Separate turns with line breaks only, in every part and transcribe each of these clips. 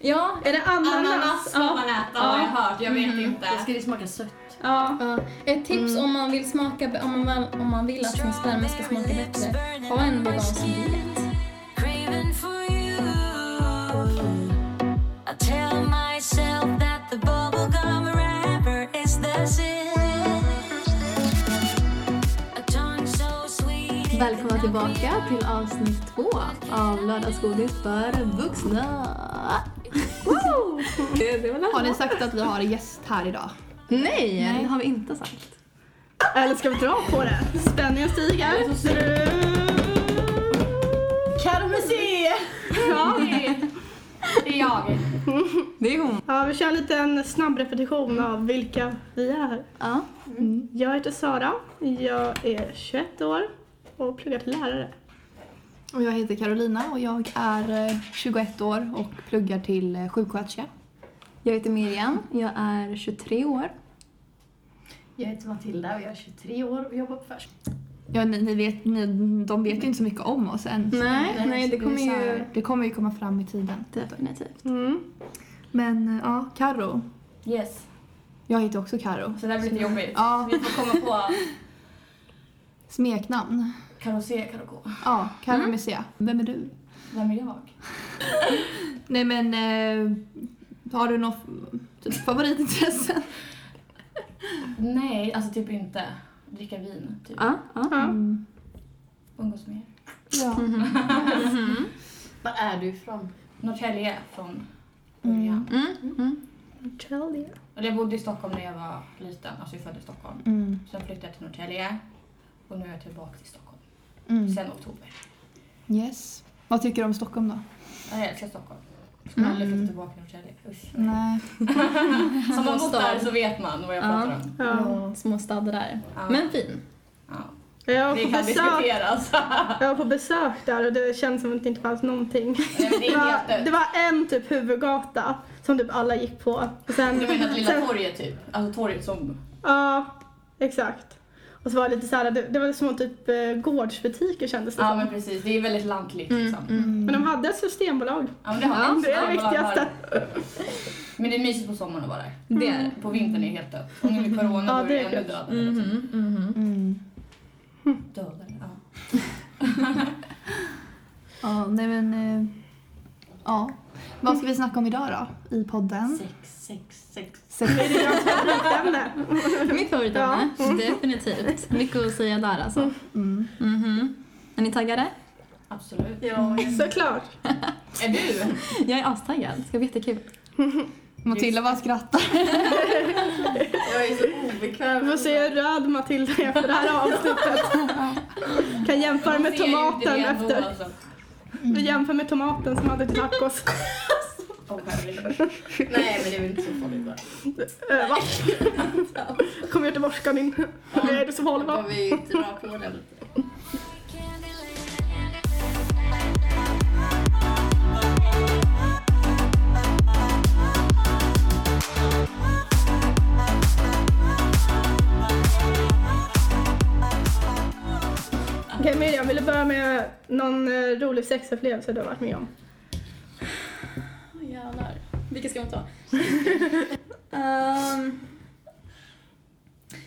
Ja, är det
Ananas Mm.
ananas?
får
Ja.
man äta
Ja.
har jag hört, jag vet inte.
Då ska det smaka sött.
Ja. Mm.
Ja, ett tips om man vill smaka, be- om man, om man vill att sin sperma ska smaka bättre, ha en vegansk diet.
craving for you. I tell myself that the bubblegum wrapper is the zip. A tongue so sweet. it
Välkomna
cannot be
tillbaka till avsnitt två av Lördagsgodis för vuxna. Wow! Det- det var
Har
nära.
ni sagt att vi har gäst här idag?
Nej, det har vi inte sagt.
Eller ska vi dra på det? Spänningen stiger.
Carmesee!
Ja, det är- det är jag.
Det är hon.
Ja, vi kör en liten snabb repetition av vilka vi är.
Ja.
Jag heter Sara, jag är 21 år och pluggar till lärare.
Och jag heter Carolina och jag är eh, 21 år och pluggar till eh, sjuksköterska.
Jag heter Miriam, jag är 23 år.
Jag heter Matilda och jag är 23 år och jobbar på förskolan.
Ja, ni, ni vet, ni, de vet ju inte så mycket om oss än.
Nej, nej det
är
kommer
så här,
ju...
det kommer ju komma fram i tiden.
Definitivt.
Mm.
Men eh, ja, Karo.
Yes,
Jag heter också Karo.
så det här blir lite jobbigt.
Ja,
Vi får komma på,
smeknamn.
kan de se, kan de gå?
Ja, Karo
Mm.
Messiah. Vem är du?
Vem är jag?
Nej men, eh, har du något typ, favoritintresse?
Nej, alltså typ inte. Dricka vin, typ.
Ja, ja.
Ja.
Mm,
Umgås med er.
Ja.
Mhm.
Var är du ifrån?
Norrtälje från början.
Norrtälje.
Eller jag bodde i Stockholm när jag var liten, alltså jag föddes i Stockholm.
Mm.
Sen flyttade jag till Norrtälje och nu är jag tillbaka till Stockholm.
Mm.
Sen oktober.
Yes. Vad tycker du om Stockholm då?
Ja, Jag älskar Stockholm. Skulle aldrig flytta tillbaka till Norrtälje. Usch.
Mm.
Nej.
Som man bott där
Småstad.
så vet man vad jag
Ja.
pratar om.
Ja.
Små stader där.
Ja.
Men fin.
Ja.
Jag
Det
var, på
kan
besök,
diskuteras.
jag var på besök där och det känns som att det inte fanns någonting.
Nej, men det
Det
är helt
var, det
dött.
var en typ huvudgata som typ alla gick på. Och sen,
Du menar att
sen-
Lilla torget typ? Alltså torget som...
Ja, exakt. Och så var det lite så här, det, det var små typ eh, gårdsbutiker kändes det
Ja
som.
men precis, det är väldigt lantligt liksom.
Men de hade ett systembolag.
Ja, men det, har
Mm, Ja,
vi.
det är det
Systembolaget har-
viktigaste. Mm.
Men det är mysigt på sommaren att vara där.
Det är det.
På vintern är det helt dött. Och nu med
Ja,
corona då är
det
det
är
ännu
gött.
dödare. liksom.
Mhm, mhm.
Mm.
Dödare, ja.
Ja, nej men... eh, Ja. Vad ska vi snacka om idag då? I
Mm.
podden?
Sex, sex, sex.
Sex.
Det är deras favoritämne.
Mitt favoritämne. Definitivt. Mycket att säga där alltså.
Mm.
Mhm. Är ni taggade?
Absolut. Mm.
Såklart.
Är du?
Jag är astaggad. Det ska bli jättekul.
Matilda bara skrattar.
Jag är så obekväm.
Vi får se hur röd Matilda är för det här avsnittet. Kan jämföra med
Jag ser ju inte
tomaten
det ändå,
efter.
Alltså.
Vi jämför med tomaten som hade tacos.
Åh, herregud.
Nej, men det är väl inte så farligt va?
Äh, va? Kom göteborgskan in. Det är det som håller
Då
va?
behöver vi dra på den lite.
Okej Miriam, vill du börja med någon eh, rolig sexupplevelse du har varit med om?
Åh, Jävlar. Vilka ska man ta? Ehm,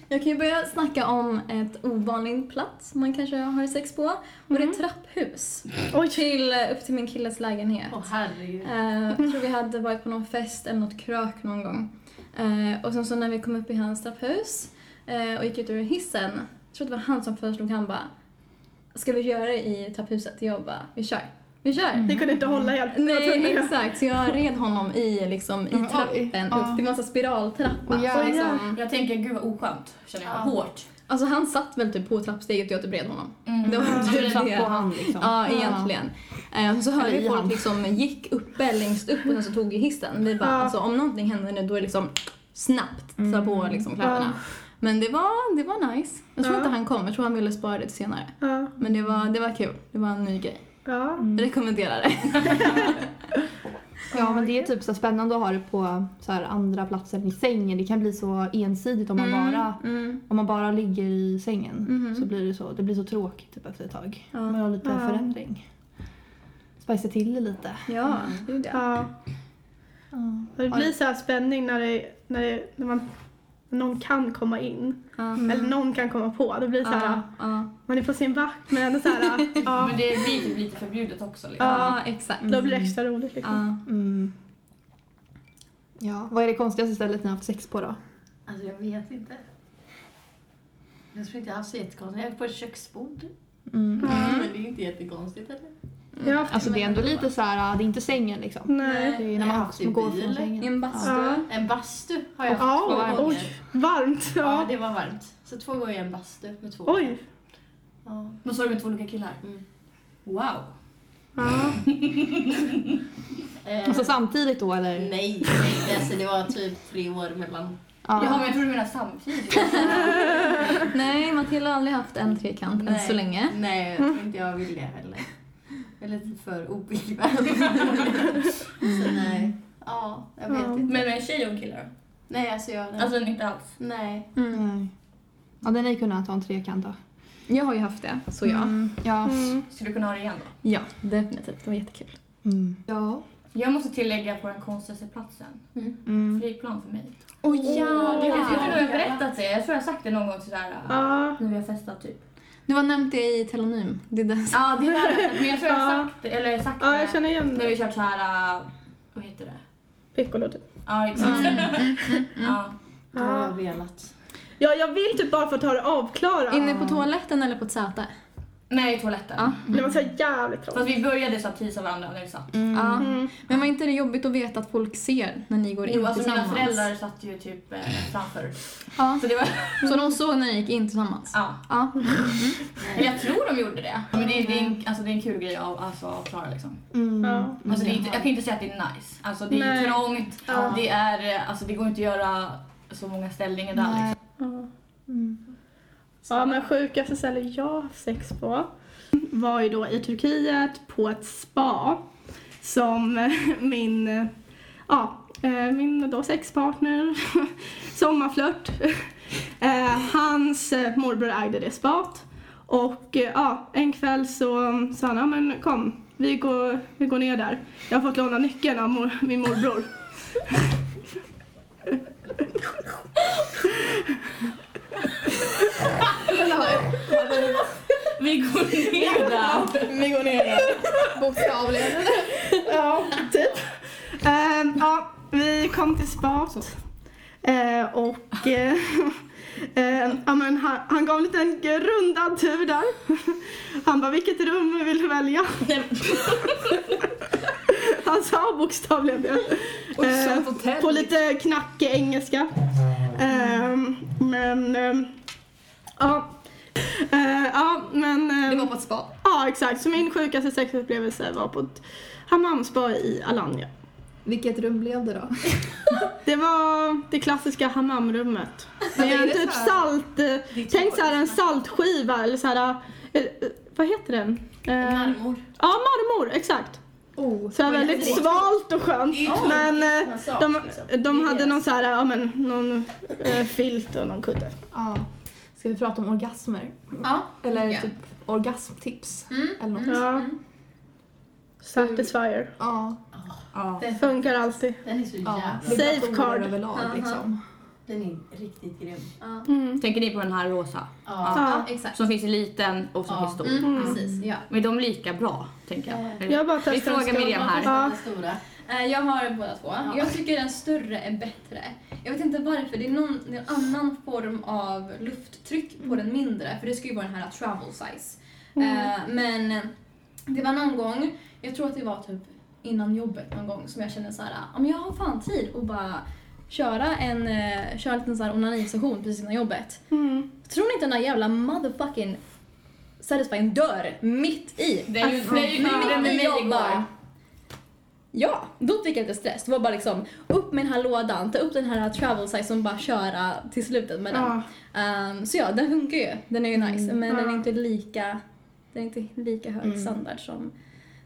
jag kan ju börja snacka om ett ovanlig plats man kanske har sex på. Och det är ett trapphus. Till, upp till min killes lägenhet.
Åh herregud.
Eh, jag tror vi hade varit på någon fest eller något krök någon gång. Eh, och sen så när vi kom upp i hans trapphus eh, och gick ut ur hissen, jag tror det var han som föreslog, han bara Ska vi göra det i trapphuset? Jag bara, vi kör. Vi kör!
Ni kunde inte hålla er.
Nej, exakt. Så jag red honom i, liksom, i
Mm, oj,
trappen
ja.
upp. Det var en massa spiraltrappa.
Oj,
så
jävlar.
liksom,
Jag tänker, gud vad oskönt. Känner jag. Hårt.
alltså han satt väl typ på trappsteget och jag typ red honom.
Mm.
Det var
Du
typ
satt på
det.
hand liksom.
Ja, egentligen. Eh, Så hörde
Eller
vi
i
folk
hand.
liksom gick uppe, längst upp och sen så tog ju hissen. Vi bara,
Ja.
alltså om någonting händer nu då är det liksom snabbt ta på liksom kläderna.
Ja.
Men det var, det var nice. Jag tror
Ja.
inte han kom, jag tror han ville spara det till senare.
Ja.
Men det var, det var kul, det var en ny grej.
ja.
Jag rekommenderar det.
Ja, men det är typ så spännande att ha det på så här andra platser än i sängen. Det kan bli så ensidigt om man bara,
Mm.
om man bara ligger i sängen.
Mhm.
Så blir det så. Det blir så tråkigt typ efter ett tag.
Ja.
Man vill ha lite
Ja.
förändring. Spicea till det lite.
Ja, det gjorde jag.
Ja. Och det blir så här spänning när, det, när, det, när man, när någon kan komma in.
Ja.
Eller någon kan komma på. Det blir så här,
Mm. Ja, ja.
man är på sin vakt men ändå så här, ja,
Men det blir typ lite förbjudet också. Liksom.
Ja, exakt.
då blir det extra roligt liksom.
Ja.
Mm. Ja, vad är det konstigaste stället ni har haft sex på då?
Alltså jag vet inte. Jag tror inte jag har haft så jättekonstigt. Jag är på ett köksbord. typ.
Mm.
Mm. Men det är inte jättekonstigt eller?
Jag har haft,
Alltså det är ändå lite så här, det är inte sängen liksom.
nej.
Det är
Jag
när
har
man
haft i
som går från
bil.
I
sängen.
en bastu.
Ja.
En bastu har jag haft två
Ja,
gånger.
oj, varmt.
Ja,
Ja.
det var varmt. Så två gånger en bastu med två.
Oj.
Ja.
Men så är det med två olika killar?
Mm.
Wow!
Ja.
Eh,
Alltså samtidigt då eller?
nej, nej alltså, det var typ tre år mellan.
Ja.
Jaha, men jag tror du menar samtidigt.
Nej, Matilda har aldrig haft en trekant än
Nej.
så länge.
Nej, jag tror inte jag vill det heller. Jag är lite för obekväm.
Mm.
så nej. Ja, jag vet
Ja.
inte.
Men med en tjej och en kille då?
Nej, alltså jag...
Alltså inte alls?
nej.
Nej. Hade ni kunnat ha en trekant då?
Mm. Jag har ju haft det, så ja.
Mm. Ja.
Mm.
Skulle du kunna ha det igen då?
Ja, definitivt. Det var jättekul.
Mm. Ja.
Jag måste tillägga på den konstigaste platsen.
Mm.
Flygplan för mig.
Åh
Jag tror jag tror jag har berättat det. Jag tror jag har sagt det någon gång sådär.
Ja.
När vi har festat typ.
Du har nämnt det i telonym. Det är det som...
Ja, det har jag. Men jag tror jag har
Ja.
sagt det. Eller sagt
ja, jag
det.
känner igen
När vi
det.
kört såhär... äh, Vad heter det?
Piccolo typ.
Ja, exakt.
Mm.
Ja.
Det har jag
Ja.
velat.
ja, jag vill typ bara få ta det avklarat.
Inne på toaletten eller på ett säte?
Nej, i toaletten.
Ja.
Det var så här jävligt
Fast
tråkigt.
vi började så att tisa varandra liksom. när vi satt.
Ja.
Mm.
Men var inte det jobbigt att veta att folk ser när ni går in
Jo, alltså mina
tillsammans?
föräldrar satt ju typ eh, framför.
Ja.
Så det var...
Så de såg när ni gick in tillsammans?
Ja.
Ja.
Eller jag tror de gjorde det. Men det, är- det, är,
Mm.
en, alltså, det är en kul grej att alltså, att klara liksom.
Mm.
Ja.
Alltså, det är inte, jag kan inte säga att det är nice. Alltså det är
Nej.
trångt,
Ja.
det, är, eh, alltså, det går inte att göra så många ställningar där
Nej.
liksom.
Ja.
Mm.
Ja, men sjukaste stället jag har haft sex på var ju då i Turkiet på ett spa som min, ja, eh, min då sexpartner, sommarflört, eh, hans eh, morbror ägde det spat. Och eh, ja, en kväll så sa han, ja men kom, vi går, vi går ner där. Jag har fått låna nyckeln av mor, min morbror.
Vi går ner där.
Vi går ner där.
Bokstavligen.
Ja, typ. Ehm, ja, vi kom till spat. Eh, och eh, eh, ja, men han, han gav en liten grundad tur där. Han bara, vilket rum vill du välja? Han sa bokstavligen det. Eh, på lite knackig engelska. Ehm, men, ehm, ja. Eh, ja, men... ehm,
Det var på ett spa.
Ja, exakt. Så min sjukaste sexupplevelse var på ett hammamspa i Alanya.
Vilket rum blev det då?
Det var det klassiska hammamrummet. Det
är
är
det
typ
så här-
salt... eh, Tänk så här en saltskiva eller så här... eh, eh, Vad heter den? Eh,
Marmor.
Ja, marmor. Exakt.
Oh.
Så här väldigt svalt och skönt. Men eh,
Massage,
de,
liksom.
de
Det är
hade
deras.
någon så här, ja men någon eh, filt och någon kudde.
Ja. Ska vi prata om orgasmer?
Ja.
Eller
Ja.
typ orgasmtips?
Mm.
Eller något.
Ja. Satisfyer.
Ja.
Ja.
Funkar alltid.
Den är så
ja.
jävla...
Safecard.
överlag liksom.
Den är riktigt grym.
Mm.
Tänker ni på den här rosa?
Ja.
Ja.
exakt.
Som finns i liten och som
Ja.
finns stor.
Mm.
Mm.
Precis, ja.
Men är de lika bra, tänker jag? Eller-
Jag bara testar
Vi
en
frågar
stor.
Miriam här.
Ja.
Den stora.
Eh, Jag har båda två. Jag tycker den större är bättre. Jag vet inte varför. Det är någon det är en annan form av lufttryck på den mindre. För det ska ju vara den här travel size. Eh, Men det var någon gång, jag tror att det var typ innan jobbet någon gång som jag kände så här, "Ja, men jag har fan tid att bara köra en, eh, köra en liten så här onanisession precis innan jobbet.
Mm.
Tror ni inte den där jävla motherfucking satisfying dör mitt i? Alltså,
Det är ju- det är ju- det är ju-
mitt i
det är ju-
jobbar. Ja, då fick jag inte stress. Det var bara liksom upp med den här lådan, ta upp den här travel size och bara köra till slutet med den.
Ja.
Ehm, så ja, den funkar ju. Den är ju nice, men den är
Ja.
inte lika den är inte lika hög standard som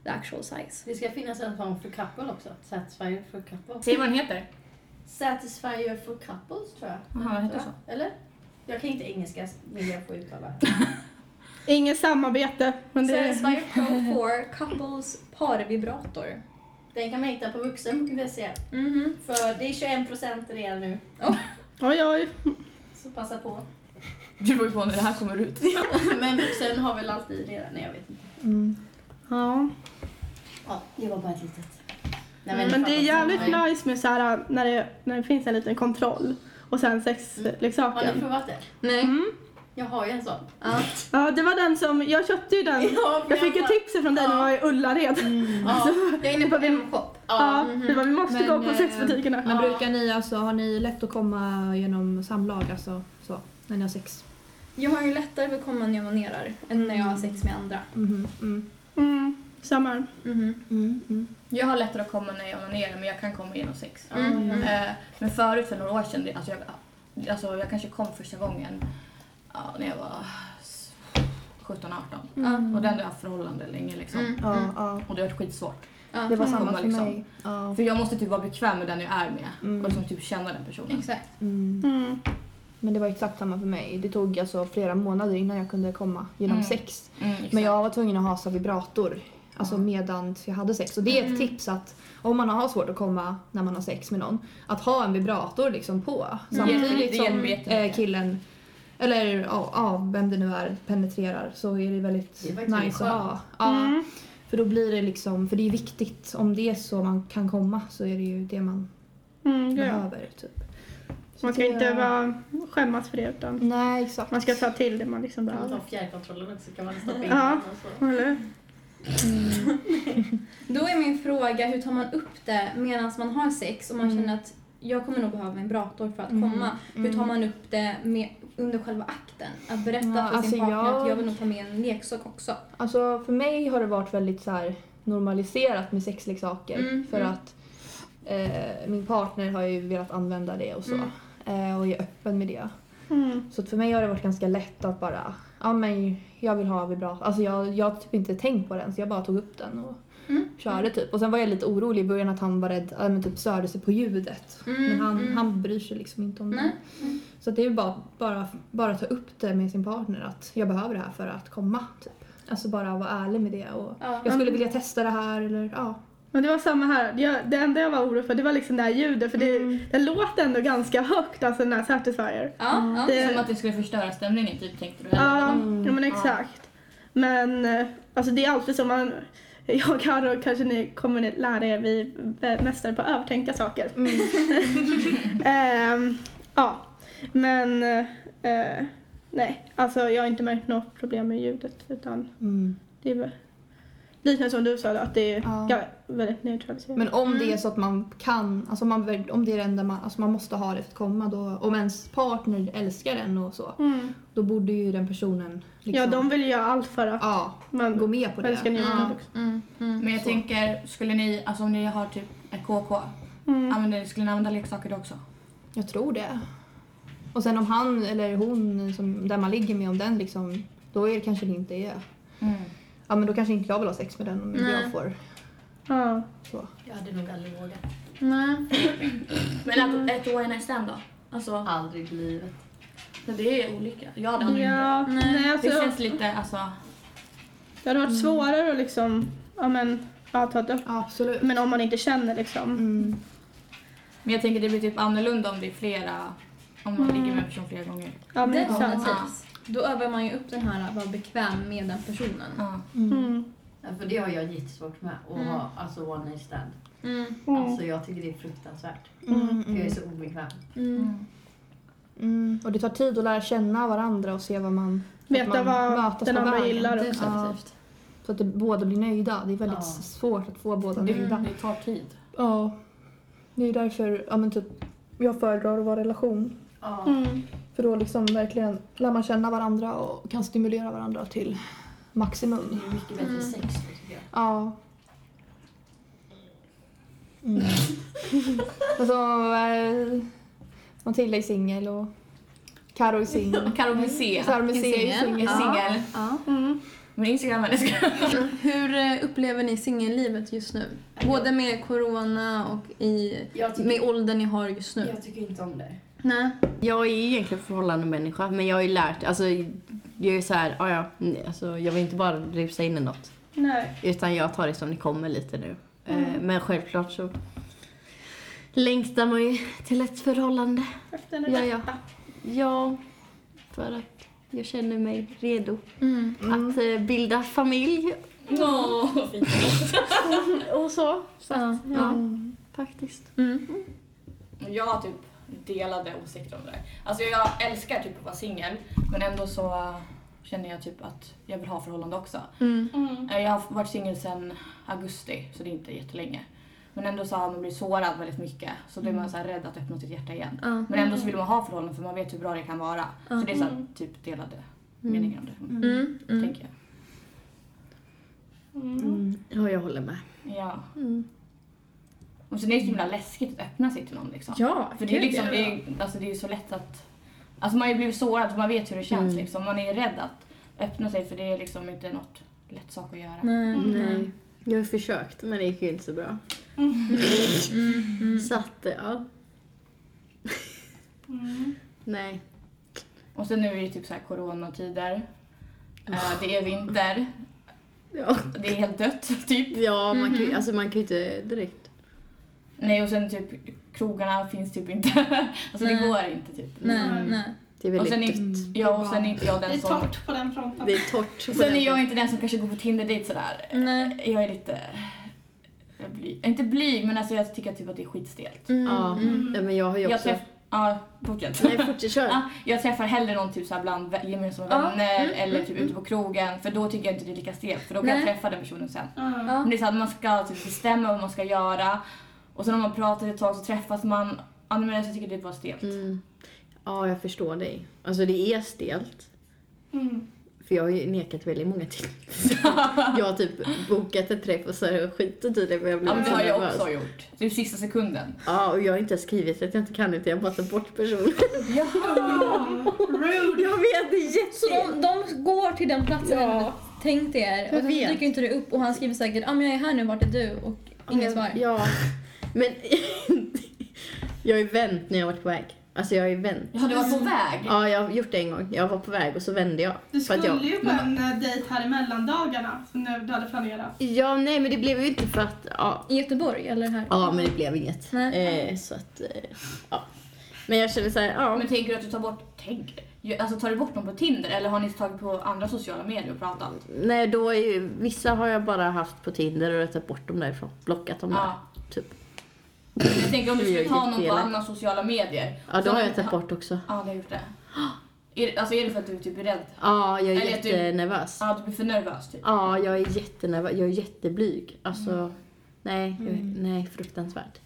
the actual size.
Det ska finnas en form för couple också. Satisfyer for couples.
Säg vad den heter.
Satisfyer for couples tror jag.
Jaha, den heter
Tror jag. Eller? Jag kan inte engelska, vill jag få uttala.
Inget samarbete. Men det
Satisfyer Pro 4 Couples Parvibrator.
Den kan man hitta på vuxen.se.
Mhm.
För det är 21 procent redan nu.
Oj, oj.
Så passa på.
Det beror ju på när det här kommer ut.
Men vuxen har väl alltid redan, nej jag vet inte.
Mm.
Ja.
Ja, det var bara ett litet.
Mm.
Nej,
Men det är jävligt
fan vad-
nice med så här, när, det, när det finns en liten kontroll och sen eh,
Har ni
sexleksaken.
provat det?
Nej.
Mm.
Jag har ju en sån.
Ja.
Ja, det var den som, jag köpte ju den.
Ja,
Jag fick ju tipset från dig när jag var i Ullared.
Mm.
Mm.
Ja,
Jag är inne på M-shop.
Ja, det var, vi måste
Men,
gå på
eh,
sexbutikerna.
Men brukar ni alltså, har ni lätt att komma genom samlag alltså så, när ni har sex?
Jag har ju lättare för att komma när jag onanerar än när jag
Mm.
har sex med andra.
Mhm,
Mm-hmm.
mm,
Mm, samma. Mm-hmm.
Mhm.
mm, mm.
Jag har lättare att komma när jag är nere men jag kan komma genom sex.
Mm.
Eh, Men förut för några år sedan, det- alltså jag, alltså jag kanske kom första gången ja, när jag var 17-18. Och då hade jag haft förhållande länge liksom.
Mm.
Ja, ja.
Och det har varit skitsvårt.
Ja.
Det var
Mm.
samma för
Liksom.
mig. Ja.
För jag måste typ vara bekväm med den jag är med
Mm.
och liksom typ känna den personen.
Exakt.
Mm.
Mm.
Men det var exakt samma för mig. Det tog alltså flera månader innan jag kunde komma genom
Mm.
sex.
Mm, exakt.
Men jag var tvungen att ha så vibrator alltså medan jag hade sex. Och det är ett
Mm.
tips att om man har svårt att komma när man har sex med någon, att ha en vibrator liksom på
Mm.
samtidigt
Det hjälper
som
jättemycket.
eh, killen eller ja, ja, vem det nu är penetrerar så är det väldigt
Det är verkligen
nice att ha. Ja,
Mm.
För då blir det liksom, för det är viktigt. Om det är så man kan komma så är det ju det man
Mm, det gör jag.
behöver. Typ. Så
Man ska
det-
inte vara, skämmas för det utan
Nej, exakt.
man ska ta till det man liksom
man
behöver.
tar fjärrkontrollen också kan man stoppa in
Ja.
den och så.
Eller?
Då är min fråga, hur tar man upp det medan man har sex och man känner att jag kommer nog behöva en brator för att komma. Hur tar man upp det med, under själva akten? Att berätta
Ja,
för
alltså
sin partner
jag-
att jag vill nog ta med en leksak också.
Alltså för mig har det varit väldigt så här normaliserat med sexleksaker
Mm,
för
mm.
att eh, min partner har ju velat använda det och så
Mm.
eh, och är öppen med det.
Mm.
Så att för mig har det varit ganska lätt att bara, ja men jag vill ha vibrator. Alltså jag, jag har typ inte tänkt på den så jag bara tog upp den och
Mm,
körde typ. Och sen var jag lite orolig i början att han var rädd, ja men typ störde sig på ljudet. men han, han bryr sig liksom inte om
Mm, Nej,
det. Så att det är ju bara, bara, bara ta upp det med sin partner att jag behöver det här för att komma typ. Alltså bara vara ärlig med det och
Ja.
jag skulle vilja testa det här eller ja.
Men det var samma här. Jag, det enda jag var orolig för det var liksom det här ljudet för det, det låter ändå ganska högt, alltså den här Satisfyer.
Ja, ja.
Det-
Som att det skulle förstöra stämningen typ tänkte du?
Ja,
Mm.
ja, men exakt. Men eh, alltså det är alltid så man... Jag och Karo, kanske ni kommer ni lära er, vi är mästare på att övertänka saker.
Mm.
Ehm, ja, men eh, nej, alltså jag har inte märkt något problem med ljudet utan
Mm.
det är väl lite som du sa, då, att det är
Ja.
ja. väldigt neutraliserat.
Men om
Mm.
det är så att man kan, alltså man, väl- om det är det enda man, alltså man måste ha det för att komma då, om ens partner älskar en och så,
Mm.
då borde ju den personen liksom,
Ja, de vill ju göra allt för att
ja,
man
gå med på det.
älskar njutet
Ja. Mm.
också.
Men jag tänker, skulle ni, alltså om ni har typ ett KK,
Mm.
använder, ni- skulle ni använda leksaker då också?
Jag tror det. Och sen om han eller hon, som, där man ligger med, om den liksom, då är det kanske det inte är
Mm.
Ja men då kanske inte jag vill ha sex med den om inte jag får.
Ja.
Så.
Jag hade nog aldrig vågat.
Men ett, ett one night stand då? Alltså,
Aldrig i livet.
det är olika. Jag hade aldrig gjort
Ja, nej. alltså,
det. Det känns lite, alltså...
Det hade
Mm.
varit svårare att liksom, ja men, ja, ta det upp.
Absolut.
Men om man inte känner liksom.
Mm.
Men jag tänker det blir typ annorlunda om det är flera, om man ligger med en person flera gånger.
Ja, men, exakt.
Definitivt. Då övar man ju upp den här att vara bekväm med den personen.
Ja.
Mm.
Ja, för det har jag jättesvårt med. Att ha alltså one night stand.
Mm.
Alltså jag tycker det är fruktansvärt.
Mm,
För jag är
mm,
så obekväm.
mm. Och det tar tid att lära känna varandra och se vad man...
Veta
att man
vad
mötas
den
på
andra
vägen.
gillar också.
Ja, så att det, båda blir nöjda. Det är väldigt
Ja.
svårt att få
Mm.
båda nöjda.
Det tar tid.
Ja. Det är därför ja, men typ, jag föredrar att vara i relation.
Ja.
Mm.
För då liksom verkligen lär man känna varandra och kan stimulera varandra till
Det
maximum.
är mycket bättre sex då, tycker jag.
Ja. Mm. alltså, eh, Matilda är singel och Karo är singel.
Karo med C.
Sara med C är
singel.
singel.
Är singel.
Ja.
Mm.
Men Instagram är det.
Hur eh, upplever ni singellivet just nu? Både med corona och i,
Jag tycker,
med åldern ni har just nu.
jag tycker inte om det.
Nej.
Jag är egentligen förhållande människa men jag har ju lärt, alltså jag är så här, ah, ja, nej, alltså, jag vill inte bara rusa in i något
Nej.
utan jag tar det som det kommer lite nu.
Mm.
Eh, Men självklart så längtar man ju till ett förhållande.
Efter den
Ja, ja.
rätta.
Ja, för att jag känner mig redo
Mm.
att eh, bilda familj
Åh, vad fint.
Och så. så att,
Ja.
ja.
faktiskt.
Men Jag har typ delade åsikter om det där. Alltså jag älskar typ att vara singel men ändå så äh, känner jag typ att jag vill ha förhållande också. Äh, Jag har varit singel sedan augusti så det är inte jättelänge. Men ändå så har man blivit sårad väldigt mycket så då är man så här rädd att öppna sitt hjärta igen.
Ja.
Men ändå så vill man ha förhållanden för man vet hur bra det kan vara. Så det är så här, typ delade meningar om det.
Mm. Mm.
Tänker jag.
Mm. Ja, jag håller med.
Ja.
Mm.
Och sen är det så himla läskigt att öppna sig till någon liksom.
Ja,
För det är,
gud,
liksom,
ja.
det, är, alltså det är så lätt att... Alltså man har ju blivit sårad så man vet hur det känns. Liksom. Man är rädd att öppna sig för det är liksom inte något lätt sak att göra.
Nej.
Nej. Jag har försökt men det gick ju inte så
Mm.
bra. Mm. Så att, ja.
Mm.
Nej.
Och sen nu är det typ så här coronatider. Eh, det är vinter.
Ja,
Det är helt dött typ.
ja man, kan, ju- alltså, man kan ju inte direkt.
Nej och sen typ krogarna finns typ inte. alltså det
Nej.
går inte typ.
Nej.
mm.
Nej.
Det är
Och
väldigt
sen är,
dött.
ja, och sen är inte jag
Det är
den som...
torrt på den fronten.
Det är torrt. på
Sen
den
är jag inte den som kanske går på Tinder dit sådär.
Nej.
Jag är lite... Jag blir, inte blyg men alltså jag tycker typ att det är skitstelt.
punkten. Ja.
Mm.
ja, men jag har ju
Jag
också...
träff, ja, fortsätt.
Nej, fortsätt köra.
Ja, jag träffar hellre någon typ så här bland vä- gemensamma vänner eller typ ute på krogen för då tycker jag inte det är lika stelt för då kan jag
Nej.
träffa den personen sen.
Ja.
Men det är så här, man ska typ bestämma vad man ska göra och sen om man pratar ett tag så träffas man. Ja, men alltså, jag tycker det är bara stelt.
Mm. Ja, jag förstår dig. Alltså det är stelt.
Mm.
För jag har ju nekat väldigt många till. jag har typ bokat en träff och så har jag skitit i det för jag
Ja,
blev
men det
så
har jag
nervös.
också gjort. Typ sista sekunden.
Ja, och jag har inte ens skrivit att jag inte kan utan jag har bara tagit bort personen.
Rude!
jag vet, det är
Så
jätte...
de, de går till den platsen
Ja.
tänkt er och sen
Jag
så
vet.
dyker inte du upp och han skriver säkert ah, men jag är här nu, vart är du? Och inget svar.
Mm, Ja. Men jag har ju vänt när jag har varit på väg. Alltså jag har ju vänt.
Ja, du
Mm.
var på väg.
Ja, jag har gjort det en gång. Jag var på väg och så vände jag.
Du
För att
skulle
jag... Mm.
ju på en eh, dejt här i mellandagarna som du du hade planerat.
Ja, nej men det blev ju inte för att... Ja,
I Göteborg eller här?
ja men det blev inget.
Mm.
Nej.
Eh, så att... Eh, ja. Men jag kände så här, ja.
Men tänker du att du tar bort, tänk, ju- alltså tar du bort någon på Tinder eller har ni tagit på andra sociala medier och pratat?
Nej, då är ju, vissa har jag bara haft på Tinder och jag har tagit bort dem därifrån. Blockat dem där.
Ja.
Typ.
Jag tänker om du
Vi gör
skulle ta
ju
någon på
fel.
andra sociala medier.
Ja,
Så
då har
om-
jag tagit bort också.
Ja, du har gjort det. Är, det- alltså är det för att du typ är rädd?
Ja, jag är
Eller att du-
jättenervös.
Ja, du blir för nervös typ.
Ja, jag är jättenervös. Jag är jätteblyg. Alltså,
Mm.
nej, jag, nej, fruktansvärt.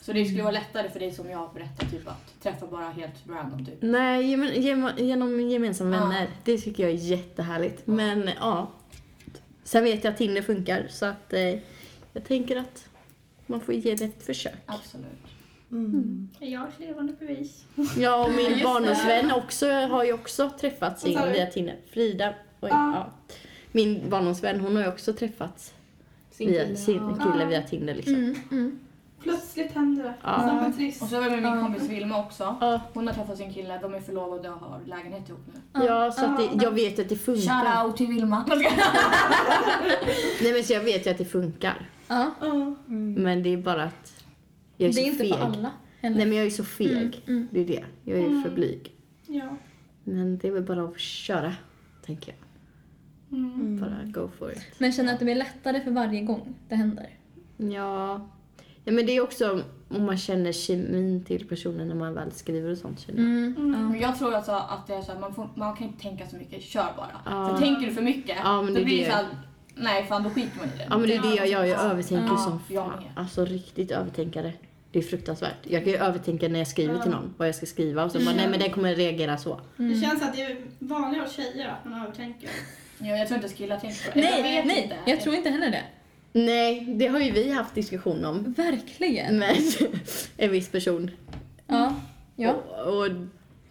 Så det skulle vara lättare för dig som jag berättar typ att träffa bara helt random typ.
Nej, gemen, gem- genom gemensamma
Ja.
vänner. Det tycker jag är jättehärligt. Men ja. Sen vet jag att Tinder funkar så att eh, jag tänker att man får ge det ett försök.
Absolut.
Mm.
Jag har ett levande bevis.
Jag och min
det.
barndomsvän också, har ju också träffats
Vad sa
in
du?
via Tinder. Frida. Oj,
Ja.
ja. Min barndomsvän hon har ju också träffats
Sin
via
kille,
sin
ja.
kille
Ja.
via Tinder liksom.
Mm, mm.
Plötsligt händer det.
Ja.
Som en trist.
Och så var jag med min kompis Vilma också.
Ja.
Hon har träffat sin kille, de är förlovade och har lägenhet ihop nu.
Ja, så att det, jag vet att det funkar.
Shoutout till Vilma.
Nej men så jag vet ju att det funkar.
Ja.
Ja.
Mm.
Men det är bara att jag är,
Det är
så
inte
feg.
för alla. heller.
Nej men jag är så feg. Det är det. Jag är ju för blyg.
ja.
Men det är väl bara att köra, tänker jag.
Mm.
Bara go for it.
Men känner att det blir lättare för varje gång det händer.
Ja. ja men det är också om man känner kemin till personen när man väl skriver och sånt känner jag.
Mm,
Mm.
Men jag tror alltså att det är så här, man, får, man kan inte tänka så mycket, kör bara.
Ja.
För tänker du för mycket,
Ja, men det
då
är
blir
det.
det så här, nej fan då skiter man i det.
Ja men det är det jag gör, jag övertänker
Ja,
som
jag
fan.
med.
Alltså riktigt övertänkare. Det är fruktansvärt. Jag kan ju övertänka när jag skriver till någon vad jag ska skriva och så
Mm.
bara nej men den kommer reagera så.
mm.
Det känns att det är vanligare hos tjejer att man övertänker.
Ja, jag tror inte killar tänker på det.
Nej,
jag vet
nej,
inte.
jag tror inte heller det.
Nej, det har ju vi haft diskussion om
Verkligen.
med en viss person.
Ja. ja.
Och, och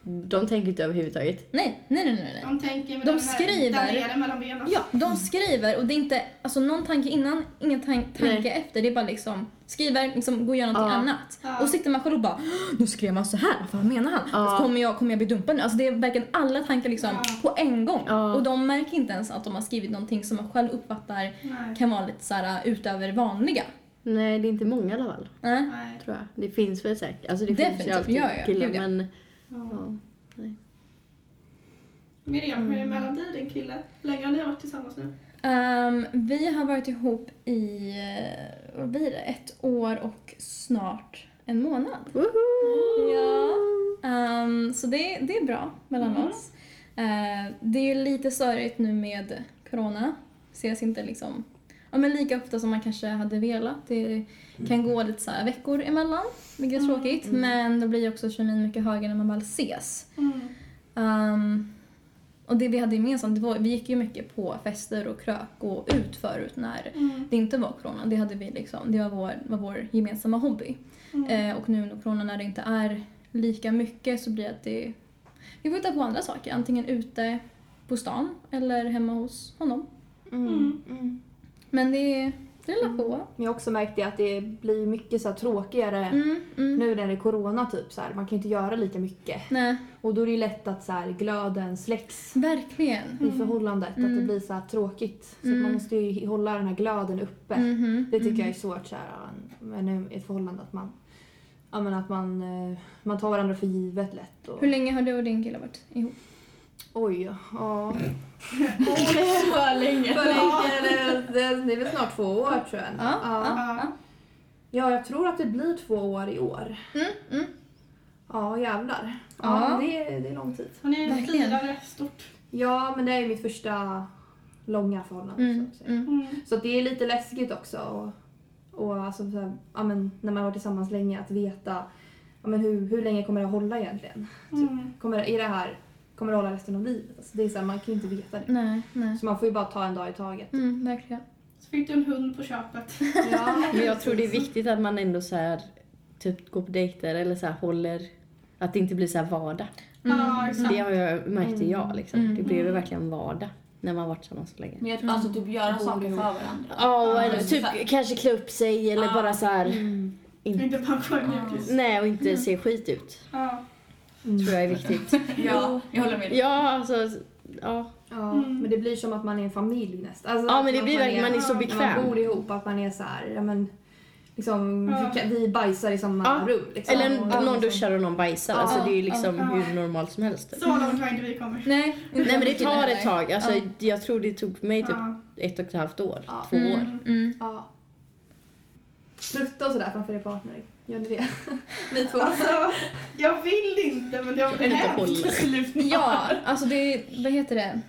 de tänker inte överhuvudtaget.
Nej, nej, nej, nej. nej.
De tänker med
De
den
skriver.
Här, där nere mellan benen.
Ja, de skriver och det är inte alltså, någon tanke innan, ingen tan- tanke efter. Det är bara liksom skriver, liksom, går och gör någonting
Ja.
annat.
Ja.
Och sitter man själv och bara "Åh, nu skrev man så här, vad fan menar han? Alltså,
Ja.
Kommer, jag, kommer jag bli dumpad nu? Alltså det är verkligen alla tankar liksom
Ja.
på en gång.
Ja.
Och de märker inte ens att de har skrivit någonting som man själv uppfattar
Nej.
kan vara lite så här utöver det vanliga.
Nej, det är inte många i alla fall.
Nej.
Tror jag. Det finns väl säkert. Alltså det finns ju
Definitivt,
alltid
ja, ja,
killar
gud, ja.
men...
Miriam,
Mm.
hur är melodin din kille? Hur länge har ni varit tillsammans nu?
Ehm, vi har varit ihop i, eh, vad blir det, ett år och snart en månad. Ja. Ehm, så det, det är bra mellan oss. Eh, det är ju lite störigt nu med corona. Ses inte liksom ja, men lika ofta som man kanske hade velat. Det kan gå lite så här veckor emellan, vilket är tråkigt. Men då blir ju också kemin mycket högre när man väl ses.
Mm,
Ehm, och det vi hade gemensamt, det var, vi gick ju mycket på fester och krök och ut förut när
mm,
det inte var corona. Det, hade vi liksom, det var, vår, var vår gemensamma hobby.
mm.
Eh, och nu under corona när det inte är lika mycket så blir det att det... Vi får hitta på andra saker, antingen ute på stan eller hemma hos honom.
Mm. Mm.
Men det är det är väl på.
Men jag har också märkt det att det blir mycket så här tråkigare
Mm, mm.
nu när det är corona. Typ, så här. Man kan ju inte göra lika mycket.
Nej,
Och då är det ju lätt att så här, glöden släcks
verkligen.
Mm.
i förhållandet. Att det blir så här tråkigt. Så att man måste ju hålla den här glöden uppe.
Mm.
Mhm,
Det tycker jag är svårt så här, men i ett förhållande. Att man, ja, men att man, eh, man tar varandra för givet lätt. Och,
Hur länge har du och din kille varit ihop?
oj, ja.
Så länge.
För länge, det, det, det är väl snart två år tror jag.
Ja,
ja. ja, jag tror att det blir två år i år.
Mm, mm.
Ja, jävlar.
Ja.
Ja, Det, är, det är lång tid.
Har ni
Verkligen.
firar rätt stort?
Ja, men det är ju mitt första långa förhållande.
Mm,
så att säga.
mm.
Så att det är lite läskigt också. Och, och alltså, så här, ja, men, när man har varit tillsammans länge, att veta ja, men hur, hur länge kommer det att hålla egentligen?
mm.
Typ. Kommer, det- är det här, kommer det hålla resten av livet? Alltså, det är så här, man kan ju inte veta det.
Nej, nej.
Så man får ju bara ta en dag i taget.
Mm, verkligen.
Så fick du en hund på köpet.
Ja.
Men jag tror det är viktigt att man ändå så här, typ går på dejter eller så här, håller... Att det inte blir så här vardag.
Ja, exakt. Mm.
Det har jag märkt jag liksom. Mm. Det blev ju verkligen vardag när man varit tillsammans så länge.
Men
Mm.
jag, alltså typ göra saker för varandra.
Ja, och eller
men
typ
så här-
kanske klä upp sig eller
Ja.
bara så här.
Mm.
Inte bara sjömjukis.
Nej, och
Mm.
inte se skit ut.
Ja.
Tror jag är viktigt.
Ja, jag håller med dig.
Ja, alltså... Ja.
Ja, Men det blir som att man är en familj nästan. Alltså,
Mm. Ja,
att
men det
man-
blir
man
verkligen... Man är
när
så
man
bekväm.
bor ihop, att man är så här, ja men liksom,
Ja.
vi, kan- vi bajsar i samma
Ja.
rum. Liksom.
Eller
Och-
någon duschar och någon bajsar.
Ja.
Alltså det är ju liksom
Ja.
hur normalt som helst.
Så långt har inte vi kommit.
Nej, inte
Nej men det
mycket
tar
heller.
ett tag. Alltså,
Ja.
Jag tror det tog mig typ
Ja.
ett och ett halvt år.
Ja.
Två år.
Mm, mm.
Ja. Prutta och sådär framför er partner. Gör ni det? Ni två.
Alltså, jag vill inte men det har
kan inte
hänt
hålla.
till slut.
Ja, alltså det är, vad heter det?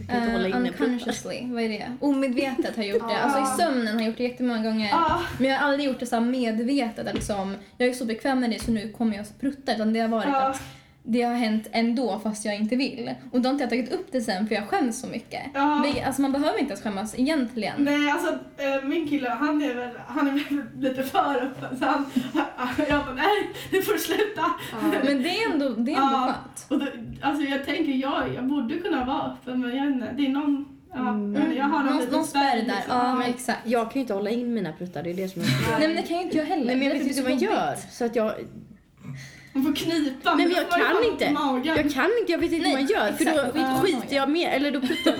Jag kan inte hålla
Eh,
inne pruttar.
unconsciously, vad är det? Omedvetet har jag gjort det. Alltså i sömnen har jag gjort det jättemånga gånger.
Ja.
Men jag har aldrig gjort det så här medvetet att liksom, jag är så bekväm med det så nu kommer jag att prutta. Utan det har varit
Ja.
att det har hänt ändå fast jag inte vill. Och då har inte jag tagit upp det sen för jag skäms så mycket.
Ja.
Vi, alltså man behöver inte ens skämmas egentligen.
Nej, alltså eh, min kille han är väl, han är väl lite för öppen så han, jag bara nej, nu får du sluta.
Men det är ändå, det är ändå
Ja.
skönt.
Och då, alltså jag tänker, jag, jag borde kunna vara öppen men jag vet inte, det är någon, ja,
Mm.
men jag har en
Mm. Någon,
liten
någon spärr där.
liksom.
Ja, exakt.
Jag kan ju inte hålla in mina pruttar. Det är det som är
Nej men det kan ju inte jag heller.
Nej men jag
Det är
vet inte hur man
så
gör.
jobbigt.
Så att jag,
Man får knipa.
Nej, men
då
jag
får man
kan
fan
inte.
ont i Magen.
jag kan inte, jag vet inte hur
Nej,
man gör. För
exakt.
då
Ja.
skiter jag mer. Eller då pruttar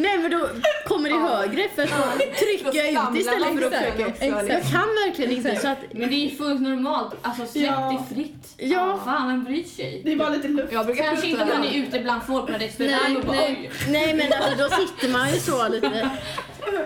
Nej men då kommer det högre för då trycker jag ut istället för att försöka.
liksom.
Jag kan verkligen inte så att...
Men det är fullt normalt. Alltså släpp
Ja.
det fritt.
Ja.
Fan, vem bryr sig?
Det är bara lite luft.
Jag brukar
Kanske inte
prutta.
när ni är ute bland folk på en restaurang
Nej,
och bara
nej.
oj.
Nej men alltså då sitter man ju så lite.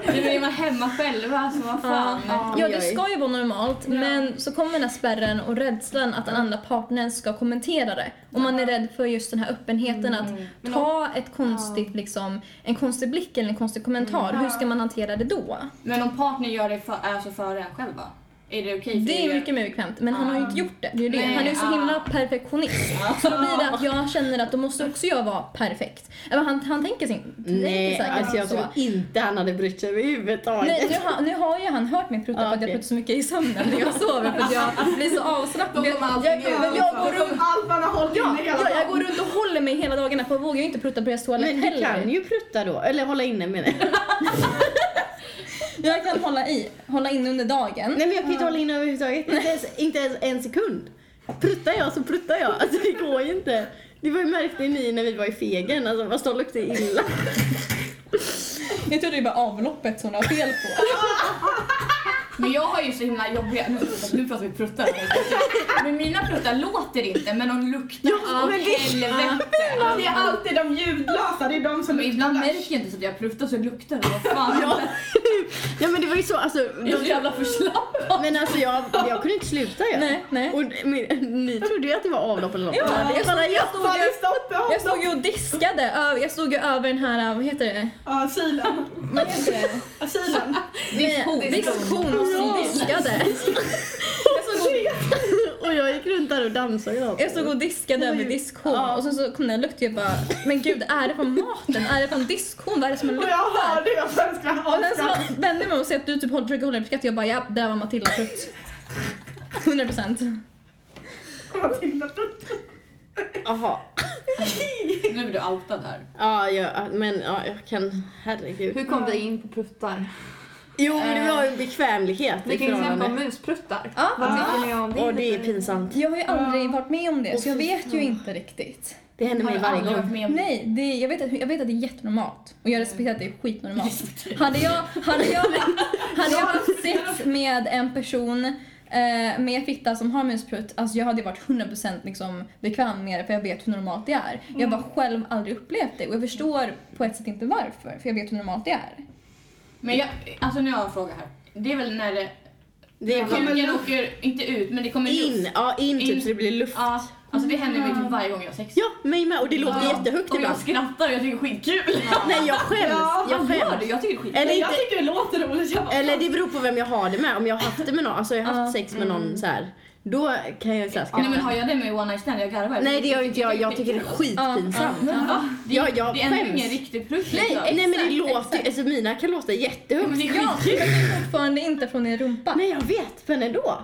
Nu är man hemma själva så vad fan.
Ja, det ska ju vara normalt, men så kommer den här spärren och rädslan att den andra partnern ska kommentera det. Och man är rädd för just den här öppenheten
Mm.
att ta ett konstigt, liksom, en konstig blick eller en konstig kommentar. Hur ska man hantera det då?
Men om partnern gör det för, alltså före en själva, är det okej? för
Det är
er?
mycket mer bekvämt, men han har ju inte gjort det. det, är ju det.
Nej,
Han är ju så
ja.
himla perfektionist. Så då blir det att jag känner att då måste också jag vara perfekt. Eller Han, han tänker sin... tänker
Nej
säkert
alltså jag
så.
tror inte han hade brytt sig överhuvudtaget.
Nej, nu, har, nu har ju han hört mig prutta
Ja,
för att jag
okej.
pruttar så mycket i sömnen när jag sover för att jag blir så avslappnad. Jag, jag, jag, jag, går runt,
Allt man har hållit
ja,
inne hela
jag, jag
dagen.
går runt och håller mig hela dagarna för jag vågar ju inte prutta på deras toalett
Men du kan
heller.
ju prutta då, eller hålla inne menar jag.
Jag kan hålla i, hålla in under dagen.
Nej men jag kan ju inte hålla inne överhuvudtaget, inte ens, inte ens en sekund. Pruttar jag så pruttar jag, alltså det går ju inte. Det var ju märkte ni när vi var i Fegen, alltså vad de luktade illa.
Jag tror det är bara avloppet som du har fel på.
Men jag har ju så himla jobbiga... Nu nu pratar vi pruttar. Men mina pruttar låter inte, men de luktar av
men det-
helvete.
Det är alltid de ljudlösa, det är de som
Men ibland
luktar.
märker jag inte så att jag pruttar så jag luktar det. Vad fan?
Ja. Ja men det var ju så, alltså,
Jag är så
de,
jävla förslappad.
men alltså jag, jag kunde inte sluta jag.
Nej, nej.
Och men, ni trodde ju att det var avlopp eller något.
Ja, jag stod, jag stod,
Fan,
ju,
det stoppar
jag
honom!
stod ju och diskade. Ö- Jag stod ju över den här, vad heter det?
Asylen.
Vad heter det?
Asylen.
Diskon. Diskon och diskade.
Och jag gick runt där och dammsög allt.
Jag stod och diskade över diskon och sen så kom den lukten jag bara men gud är det från maten? Är det från diskon? Vad är det som
Och
luktar?
jag hörde jag sen ska
Och sen
jag
så vände jag mig och ser att du typ håller- försöker hålla dig på skratt jag bara ja, där var Matilda prutt. 100 procent.
Jaha.
Nu blir du outad här.
Ja, jag, men ja, jag kan, herregud.
Hur kom vi in på pruttar?
Jo men det var ju bekvämlighet
Vi
i
kan ju snacka om
förhållande.
muspruttar.
Ja.
Vad tycker ni om det?
Och det är pinsamt.
Jag har ju aldrig varit med om det så jag vet ju inte riktigt.
Det händer mig varje gång.
med om
Nej, det, jag, vet att, jag vet att det är jättenormalt och jag respekterar att det är skitnormalt. Hade jag, hade jag, hade jag haft sex med en person eh, med fitta som har musprutt, alltså jag hade ju varit 100% liksom bekväm med det för jag vet hur normalt det är. Jag har bara själv aldrig upplevt det och jag förstår på ett sätt inte varför för jag vet hur normalt det är.
Men jag, alltså nu har jag en fråga här. Det är väl när det,
Det kommer
kuken åker, inte ut, men det kommer
in, ja in typ
In.
så det blir luft.
Ja, alltså det händer mig typ varje gång jag har sex.
Ja, mig med och det låter jättehögt
Och Typ jag
ibland.
skrattar och jag tycker det är skitkul.
Nej jag skäms, jag
Vad gör du?
skäms.
Jag tycker det är skitkul.
Eller
Jag
inte,
tycker det låter roligt. Jag bara,
Eller det beror på vem jag har det med. Om jag har haft det med någon, alltså jag har haft sex med någon så här, då kan jag
Mm.
säga
Nej men
skratta.
har jag det med one night stand? Jag garvar.
Nej det gör ju inte jag, jag tycker det är skitpinsamt.
Men va? Det,
Ja, jag
det är ändå
skäms.
ingen riktig prutt
Nej,
liksom.
exakt,
Nej men det låter ju, alltså mina kan låta jättehögt.
Men det är
Ja,
skitkul.
men det är fortfarande inte från din rumpa.
Nej jag vet, men ändå.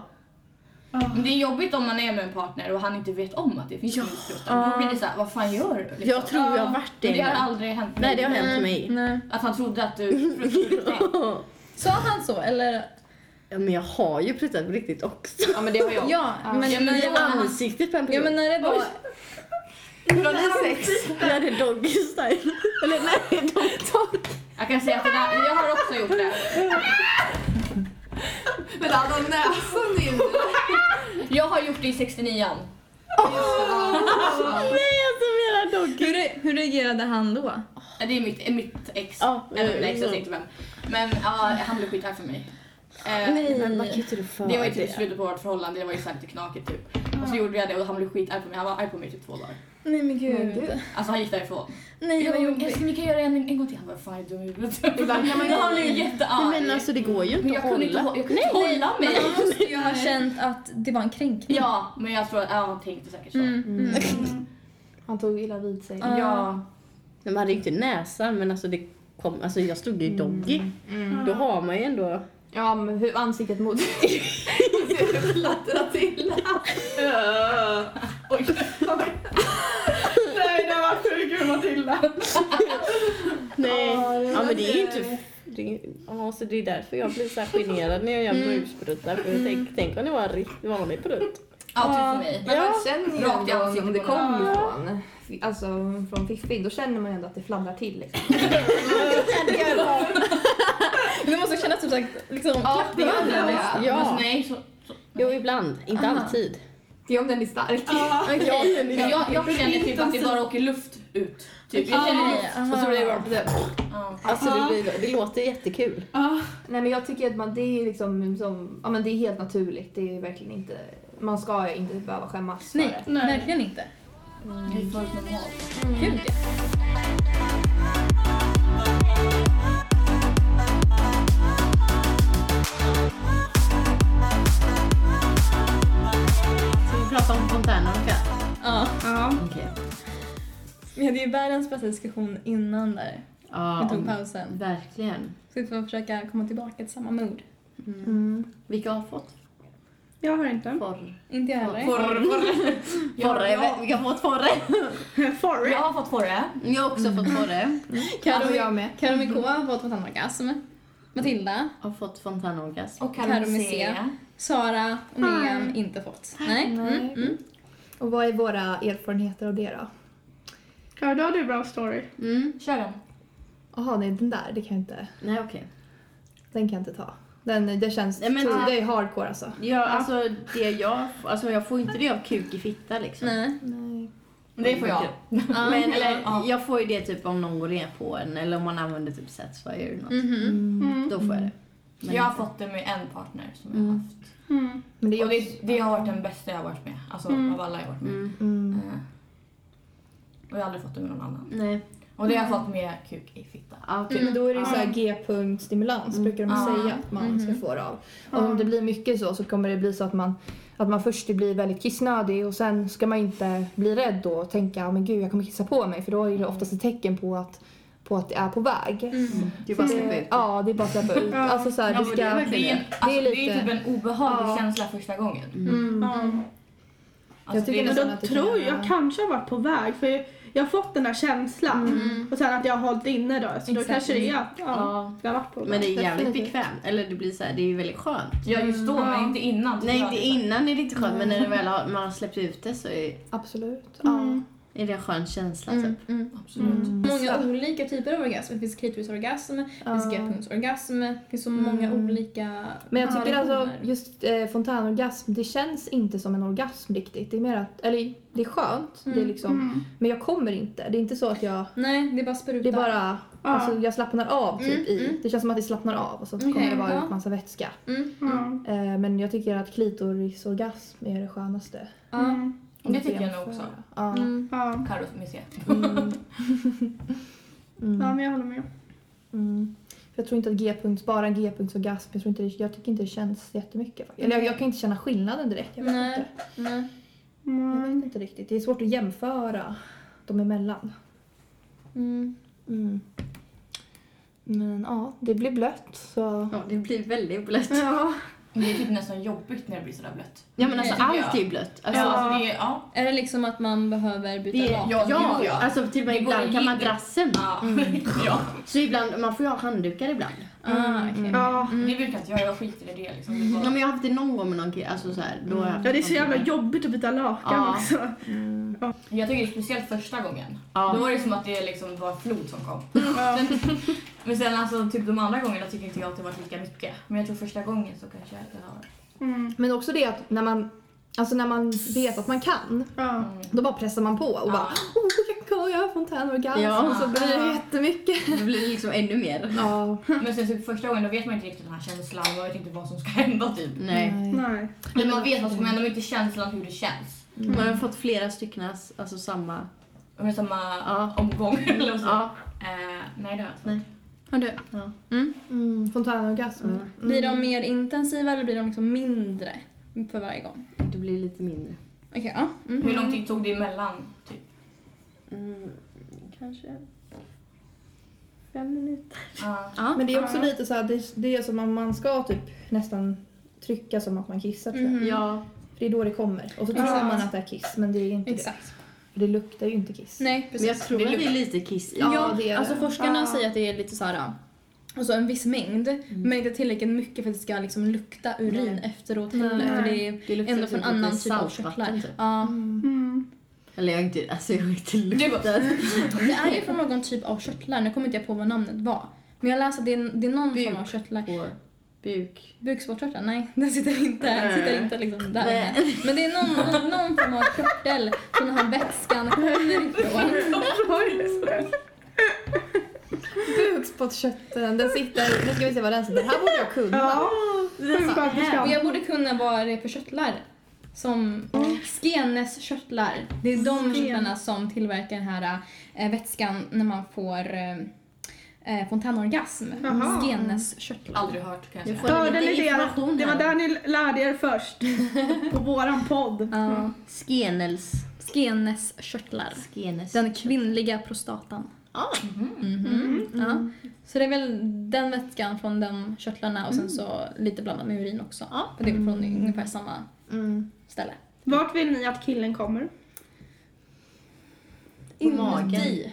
Men det är jobbigt om man är med en partner och han inte vet om att det finns ja. prutt. Då blir det såhär, vad fan gör du? Liksom.
Jag tror jag har varit
Men
det.
det har
en gång.
aldrig Mm. hänt mig.
Nej det har hänt mig.
Nej.
Att han trodde att du pruttade.
Sa han så eller?
Ja, men jag har ju pruttat på riktigt också.
Ja men det har jag.
Ja, men,
Ja, men
när
I
det var,
ansiktet på en
ja, men
person.
när det var
Jag hade doggy style. Eller nej, doggy.
Jag kan säga att det där, jag har också gjort det.
Men han har näsan in.
Jag har gjort det i 69an.
Nej alltså mera doggy.
Hur, re- hur reagerade han då?
Ja, Det är mitt, eh, mitt ex.
Ja,
Eller
eh,
mitt ex, jag
ja.
vet inte vem. Men ja, han blev skitarg för mig. Eh,
Nej men man kan ju inte rå för
Det var ju typ
det.
slutet på vårt förhållande, det var ju såhär lite knakigt typ. Och så gjorde jag det och han blev skitarg på mig, han var arg på mig i typ två dagar.
Nej men gud.
Alltså han gick därifrån.
Nej
Jag
vad
bara,
jobbigt.
älskling vi kan göra det en, en gång till. Han bara, fan jag är dum i huvudet.
Ibland kan man ju-
Han blev
Nej,
jättearg.
men alltså det går ju
Men
inte
jag
att
kunde inte,
hålla.
hå- jag kunde inte hålla mig.
Men han måste ju ha känt att det var en kränkning.
Ja, men jag tror att, ja han tänkte säkert så.
Mm. Mm.
Han tog illa vid sig.
Ja.
Ja.
Men man hade ju inte näsan men alltså det kom, alltså jag stod ju i doggy.
Mm.
Då har man ju ändå...
Ja, men hur ansiktet mot... Fladdra till.
Nej det var sjukt kul Matilda.
Nej, ja men det är ju inte... Det är, ja, så det är därför jag blir så här generad när jag gör muspruttar. För jag tänk, tänk om det var en riktigt vanlig prutt.
Ja, typ för mig.
Men man känner ju
Rakt i
ändå
ansiktet
om det
på
kommer
någon.
från, alltså, från fiffig, då känner man ju ändå att det fladdrar till. Liksom.
Det måste kännas typ såhär, liksom klappning.
Ja,
alltså-
Fast alltså, nej, så, så.
jo ibland. Inte
Aha.
alltid.
Det är om den är stark.
Men jag, jag känner typ att det bara åker luft ut. Typ. Jag känner luft.
Aha.
Och så blir det bara... Ja.
Alltså det, blir, det låter jättekul.
Nej men jag tycker att man, det är liksom som, ja men det är helt naturligt. Det är verkligen inte, man ska ju inte behöva skämmas för
Nej,
det.
Nej.
verkligen inte.
Mm.
Det är fullt normalt.
Gud ja.
Ska vi prata om fontäner och katt?
ja.
Ja.
Okej.
Vi hade ju världens bästa diskussion innan där. Vi
Ja,
tog
om-
pausen.
verkligen.
Så vi får försöka komma tillbaka till samma mood.
Vilka har fått
Jag har inte.
porr?
Inte jag heller.
Porr? Porre? Vilka har fått porre?
Forry.
Jag har fått på det.
Jag har också fått
Mm.
porre.
Karo-
jag med.
Karo med K har fått fontänorgasm. Matilda,
Har fått fontänorgasm.
Och
Karo med C. Sara och Miriam inte fått. Nej. Mm. Mm.
Och vad är våra erfarenheter av det då?
Ja, då har du bra story.
Mm.
Kör den.
jaha nej den där, det kan jag inte.
Nej okej.
Den kan jag inte ta. Den, det känns,
Nej, men-
det är hardcore alltså.
Ja, alltså det jag, alltså jag får inte det av kuk i fitta liksom.
Nej.
Nej.
Det får jag.
Men, eller,
Ja.
Jag får ju det typ om någon går ner på en eller om man använder typ Satisfyer eller något.
Mm-hmm.
Mm.
Mm.
Mm.
Då får jag det. Men
Jag har
inte-
fått det med en partner som jag
Mm.
har haft.
Men det är
Och
också,
det, det har varit den bästa jag har varit med. Alltså av alla jag har varit med.
Mm.
mm.
Eh, Och jag har aldrig fått det med någon annan.
Nej.
Och det har jag fått med kuk i fitta.
Ah, okej.
Men då är det ju
Ja.
så här G-punktstimulans brukar de
Ja.
säga att man ska få det av. Och om det blir mycket så så kommer det bli så att man, att man först blir väldigt kissnödig och sen ska man inte bli rädd då och tänka "Ja, men gud jag kommer kissa på mig för då är det oftast ett tecken på att, på att det är på väg.
Du bara släpper
Det-
ut.
Ja, det är bara att släppa ut. Alltså så här, du
men det är
ska...
verkligen-
Det är, en- alltså,
Det
det
är
är,
lite-
typ en obehaglig
Ja.
känsla första gången.
Mm.
Alltså,
Jag tycker
det är,
Men
nästan-
nästan...
då
att det kan
tror
göra-
jag kanske har varit på väg för jag- jag har fått den där känslan och sen att jag har hållit inne då så då
Exakt.
kanske det är att ja,
Ja.
jag har varit på
Men det är jävligt
Definitivt.
bekvämt. Eller det blir så här, det är ju väldigt skönt.
Ja just då, men inte innan.
Nej,
tycker jag.
inte innan är det inte skönt men när det väl har, man har släppt ut det så är,
Absolut.
Mm.
Mm.
är det en skön känsla
Mm.
typ.
Absolut.
Mm-hmm. Många olika typer av orgasm. Det finns klitorisorgasm, det finns
Ja.
g-punktsorgasm. Det finns så många olika
Men jag tycker alltså
variationer.
just eh, fontänorgasm, det känns inte som en orgasm riktigt. Det är mer att, eller det är skönt, det är liksom,
Mm.
men jag kommer inte. Det är inte så att jag,
Nej, det är bara sprutar.
det är bara, alltså jag slappnar av typ i. Det känns som att det slappnar av och så kommer det bara ut massa vätska.
Mm.
Eh, men jag tycker att klitorisorgasm är det skönaste.
Ja.
Det tycker jag nog också.
Ja.
Mm.
Ja.
Carro med C.
ja, men jag håller med.
Mm. För jag tror inte att g-punkt, bara en g-punktsorgasm, jag, tror inte det, jag tycker inte det känns jättemycket. Faktiskt. Eller jag, jag kan inte känna skillnaden direkt. Jag vet
Nej.
inte.
Nej.
Jag vet inte riktigt. Det är svårt att jämföra dem emellan.
Mm.
Mm. Men ja, det blir blött så...
Ja, det blir väldigt blött.
Ja.
Det är typ nästan jobbigt när det blir sådär blött.
Ja men alltså
Det tycker
allt
jag.
är blött. Alltså,
Ja, alltså det är, ja.
Är det liksom att man behöver byta
det är,
lakan?
ja, Mm.
ja,
det går.
alltså till och med
Det går
ibland kan
i-
madrassen.
Ja. ja.
Så ibland, man får ju ha handdukar ibland.
Ah, okej.
Ja.
Det brukar inte jag, jag skiter i det liksom. Det är
Ja
bara...
men jag har haft det någon gång med någon kille. Alltså så här, då har jag haft
ja, det är så jävla
handdukar.
jobbigt att byta lakan
Ja.
också.
Jag tycker det är speciellt första gången.
Ja.
Då var det som att det liksom var flod som kom. sen, men sen alltså typ de andra gångerna tycker inte jag att det var lika mycket. Men jag tror första gången så kanske jag kan ha det.
Mm.
Men också det att när man, alltså när man vet att man kan,
Ja.
Mm.
då bara pressar man på och bara Åh, jag kan göra fontänorgasm!
Ja.
Och så blir det jättemycket.
Det blir liksom ännu mer.
Ja.
Men sen typ första gången då vet man inte riktigt den här känslan. Man vet inte vad som ska hända typ.
Mm.
Nej.
Nej.
Men man vet vad som händer men inte känslan hur det känns.
Mm.
Man har fått flera stycken, alltså samma.
Under samma
Ja.
omgång eller så.
Ja.
Eh, nej det har jag inte.
Nej.
Har du?
Mm, fontänorgasm. Mm.
Blir de mer intensiva eller blir de liksom mindre för varje gång?
Det blir lite mindre.
Okej, ja. Mm.
Hur lång tid tog det emellan? Typ?
Mm, kanske.
Fem minuter.
Ja.
Men det är också lite så här, det, det är som om man ska typ nästan trycka som att man kissar tror jag.
Mm-hmm.
Ja.
För det är då det kommer. Och så tror man att det är kiss men det är inte
Exakt.
det. För det luktar ju inte kiss.
Nej,
Men jag
precis.
tror att det är lite kiss i.
Ja,
Ja,
det är
alltså
det.
forskarna säger att det är lite så här, alltså en viss mängd, men inte tillräckligt mycket för att det ska liksom lukta urin efteråt heller. För det är
Det luktar
ändå från
typ lite
annan typ av
saltvatten,
körtlar.
typ.
Ja.
Mm.
Eller jag har inte, alltså jag har inte luktat.
Det är ju från någon typ av körtlar, nu kommer inte jag på vad namnet var. Men jag läste att det är, det är någon form av körtlar.
på buk.
Bukspottkörteln? Nej, den sitter inte, den sitter inte liksom där.
Nej.
Men det är någon, någon, någon form av körtel som den här vätskan kommer ifrån.
Bukspottkörteln, den sitter... Nu ska vi se vad den sitter. Här borde jag kunna.
Ja. Sjuksköterskan.
Och jag borde kunna vad det är för körtlar. Som Skenes körtlar. Det är de körtlarna som tillverkar den här eh, vätskan när man får eh, eh, fontänorgasm.
Jaha.
Skenes körtlar.
Aldrig hört kan jag säga.
Hörde
lite
ni det?
information
Det var
här.
där ni lärde er först. På våran podd.
Ja.
Skenels.
Skenes körtlar.
Skenes.
Den kvinnliga prostatan.
Ah.
Mhm. Ja. Så det är väl den vätskan från de körtlarna och sen så lite blandat med urin också.
Ja.
För det är väl från ungefär samma
Mm.
ställe.
Vart vill ni att killen kommer?
På magen.
Inuti.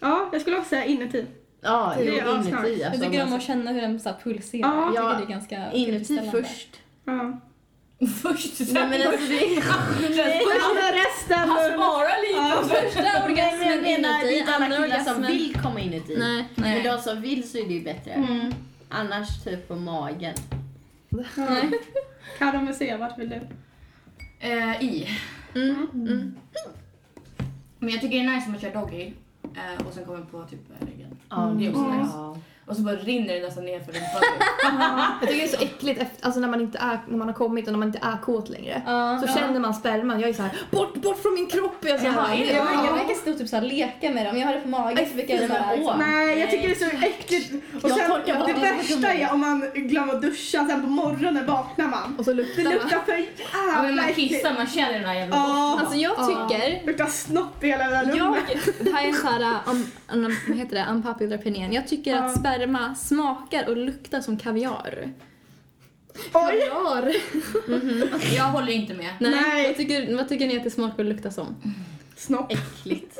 Ja, jag skulle också säga inuti.
Ja,
Det är
jo,
avsnack.
inuti.
Jag
Alltså,
tycker om
man-
att känna hur den så här pulserar.
Ja.
Jag tycker
Ja,
det är ganska
inuti
tillfredsställande.
först.
Ja.
Först sen.
Nej, men alltså, det är-
Nej,
Han har resten.
Han sparar lite.
Ja.
Första
Nej, men jag
orgasmen
menar, det är
inuti,
inte alla
andra
killar som
orgasmen...
vill komma inuti.
Nej,
Men
nej.
de som vill så är det ju bättre.
Mm.
Annars typ på magen.
nej.
Karin Museum, vart vill du?
Eh, I.
Mm. Mm.
Men jag tycker det är nice om man kör doggy eh, och sen kommer på typ eh, ryggen.
Ja,
Det är också
mm.
nice. Och så bara rinner det nästan ner för rumpan.
Jag tycker det är så äckligt efter, alltså när, man inte är, när man har kommit och när man inte är kåt längre.
Ja,
Så
ja.
känner man sperman. Jag är så här, bort, bort från min kropp! Jag är så
Jaha,
här,
jag, jag, jag brukar stå och typ så här leka med dem. Jag har det på magen så brukar jag så här... liksom-
Nej, jag tycker det är så äckligt. Och
Jag
sen,
torkar bara
det
av med
värsta är om man glömmer att duscha, sen på morgonen vaknar man.
och så
Det
luktar man.
luktar för
Ja, men
jävla
man
äckligt.
kissar, man känner den här jävla
Ja.
doften.
Alltså jag tycker...
Det luktar snopp i hela det här
Jag,
rummet.
det här är en sån här, um, um, vad heter det, unpopular opinion. Jag tycker
Ja.
att sperma smakar och luktar som kaviar.
Oj!
Jag håller inte med.
Nej.
Nej.
Vad, tycker, vad tycker ni att det smakar och luktar som?
Snopp.
Äckligt.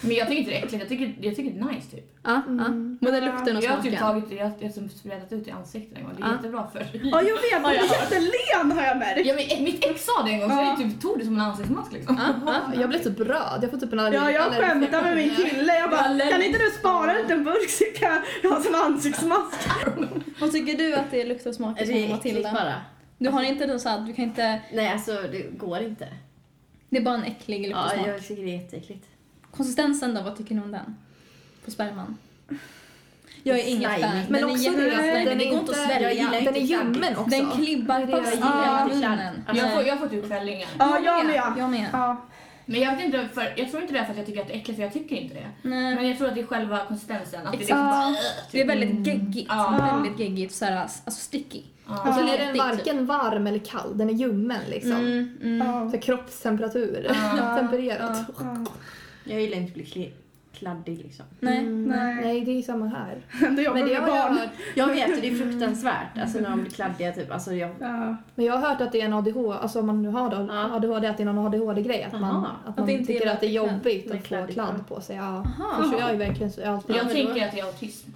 Men jag tycker inte det är äckligt, jag tycker, jag tycker det är nice typ.
Ja,
Mm.
ja. Både lukten och
Jag har typ
smaken.
tagit det, jag har typ sprättat ut det i ansiktet en gång. Det är
Ja.
jättebra för
Ja, jag vet. Man blir jättelen har jag märkt.
Ja, men mitt ex sa det en gång så
Ja.
jag typ tog det som en ansiktsmask liksom.
Jag blev typ röd. Jag får typ en allergi.
Ja, jag
allergi-
skämtar med min kille. Jag bara, kan inte du spara ut en burk så kan jag ha som ansiktsmask?
Vad tycker du att det luktar och
Alltså,
smakar
Det
som
är äckligt
Matilda?
bara.
Du har inte någon sån här, du kan inte...
Nej, alltså det går inte.
Det är bara en äcklig lukt och
Ja,
smak.
jag tycker det är jätteäckligt.
Konsistensen då, vad tycker ni om den? På sperman? Jag är ingen
Slimy.
fan.
Men
Men
den
också
är
det att
jätteslimmig.
den
Det
är
går inte att
inte-
svälja.
jag gillar
Den är ljummen också.
Den klibbar
jag
fast
gillar.
i munnen.
Jag får, jag får typ fällningar.
Ja, jag med.
Jag med.
Ja.
Men jag vet inte, för, jag tror inte det är för att jag tycker att det är äckligt, för jag tycker inte det.
Nej.
Men jag tror att det är själva konsistensen. Att det är liksom,
Ja.
Det är väldigt geggigt.
Ja.
Väldigt geggigt. Såhär, alltså sticky.
Ja.
Och så är den
Letigt,
varken varm eller kall. Den är ljummen liksom.
Mm, mm.
Ja.
Så kroppstemperatur.
Ja.
Tempererat.
Ja.
Jag gillar inte att bli kli- kladdig liksom.
Nej.
Mm,
Nej.
Nej, det är ju samma här.
Då jobbar
Men det
med
har jag
barn.
hört.
Jag vet, det är fruktansvärt. Alltså när de blir kladdiga typ. Alltså jag...
Ja.
Men jag har hört att det är en ADHD, alltså om man nu har då,
Ja.
ADHD, att det är någon ADHD-grej. Att man,
Jaha.
att man
det inte
tycker
är
att det är jobbigt
med
att få
kladd i
kladd
kläder.
på sig. Ja.
Aha.
För så jag är ju verkligen så. Jag har alltid,
Jag tänker att det är autism.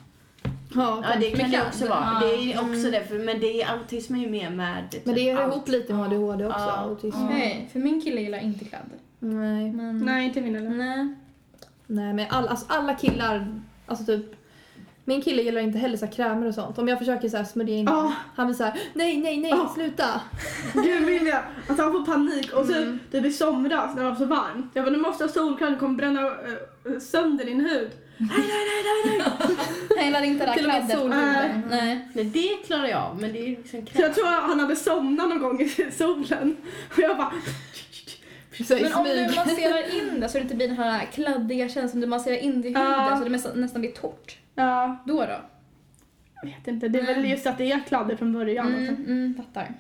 ja,
Ja, det kan
Men
det
kladd,
också vara.
ja.
Det är också det, för, men det är autism är ju mer med... typ
men det är
allt.
ihop lite med ADHD också.
Ja.
Autism.
Nej, för min kille gillar inte kladd.
Nej.
Men...
Nej, inte min eller.
Nej.
Nej, men all, alltså, alla killar, alltså typ min kille gillar inte heller så här krämer och sånt. Om jag försöker så här smörja in
Ja.
han blir så här: nej, nej, nej,
Ja.
sluta.
Gud min jag. Alltså han får panik och typ det blir somras när det var så varmt. Jag bara, nu måste jag ha solkräm, det kommer bränna eh, sönder din hud.
Han gillar inte det där
Till och med
kladdet.
solbrillor.
Nej.
Nej, det klarar jag av, men det är ju liksom
Så jag tror han hade somnat någon gång i solen. Och jag bara...
Så här, i
Men om du
smyg.
masserar in det så det inte blir den här kladdiga känslan. Du masserar in det i huden
Ja.
så det nästan, nästan blir torrt.
Ja,
Då då?
jag vet inte. Det är väl just att det är kladdigt från början.
Mm,
Alltså.
mm, fattar.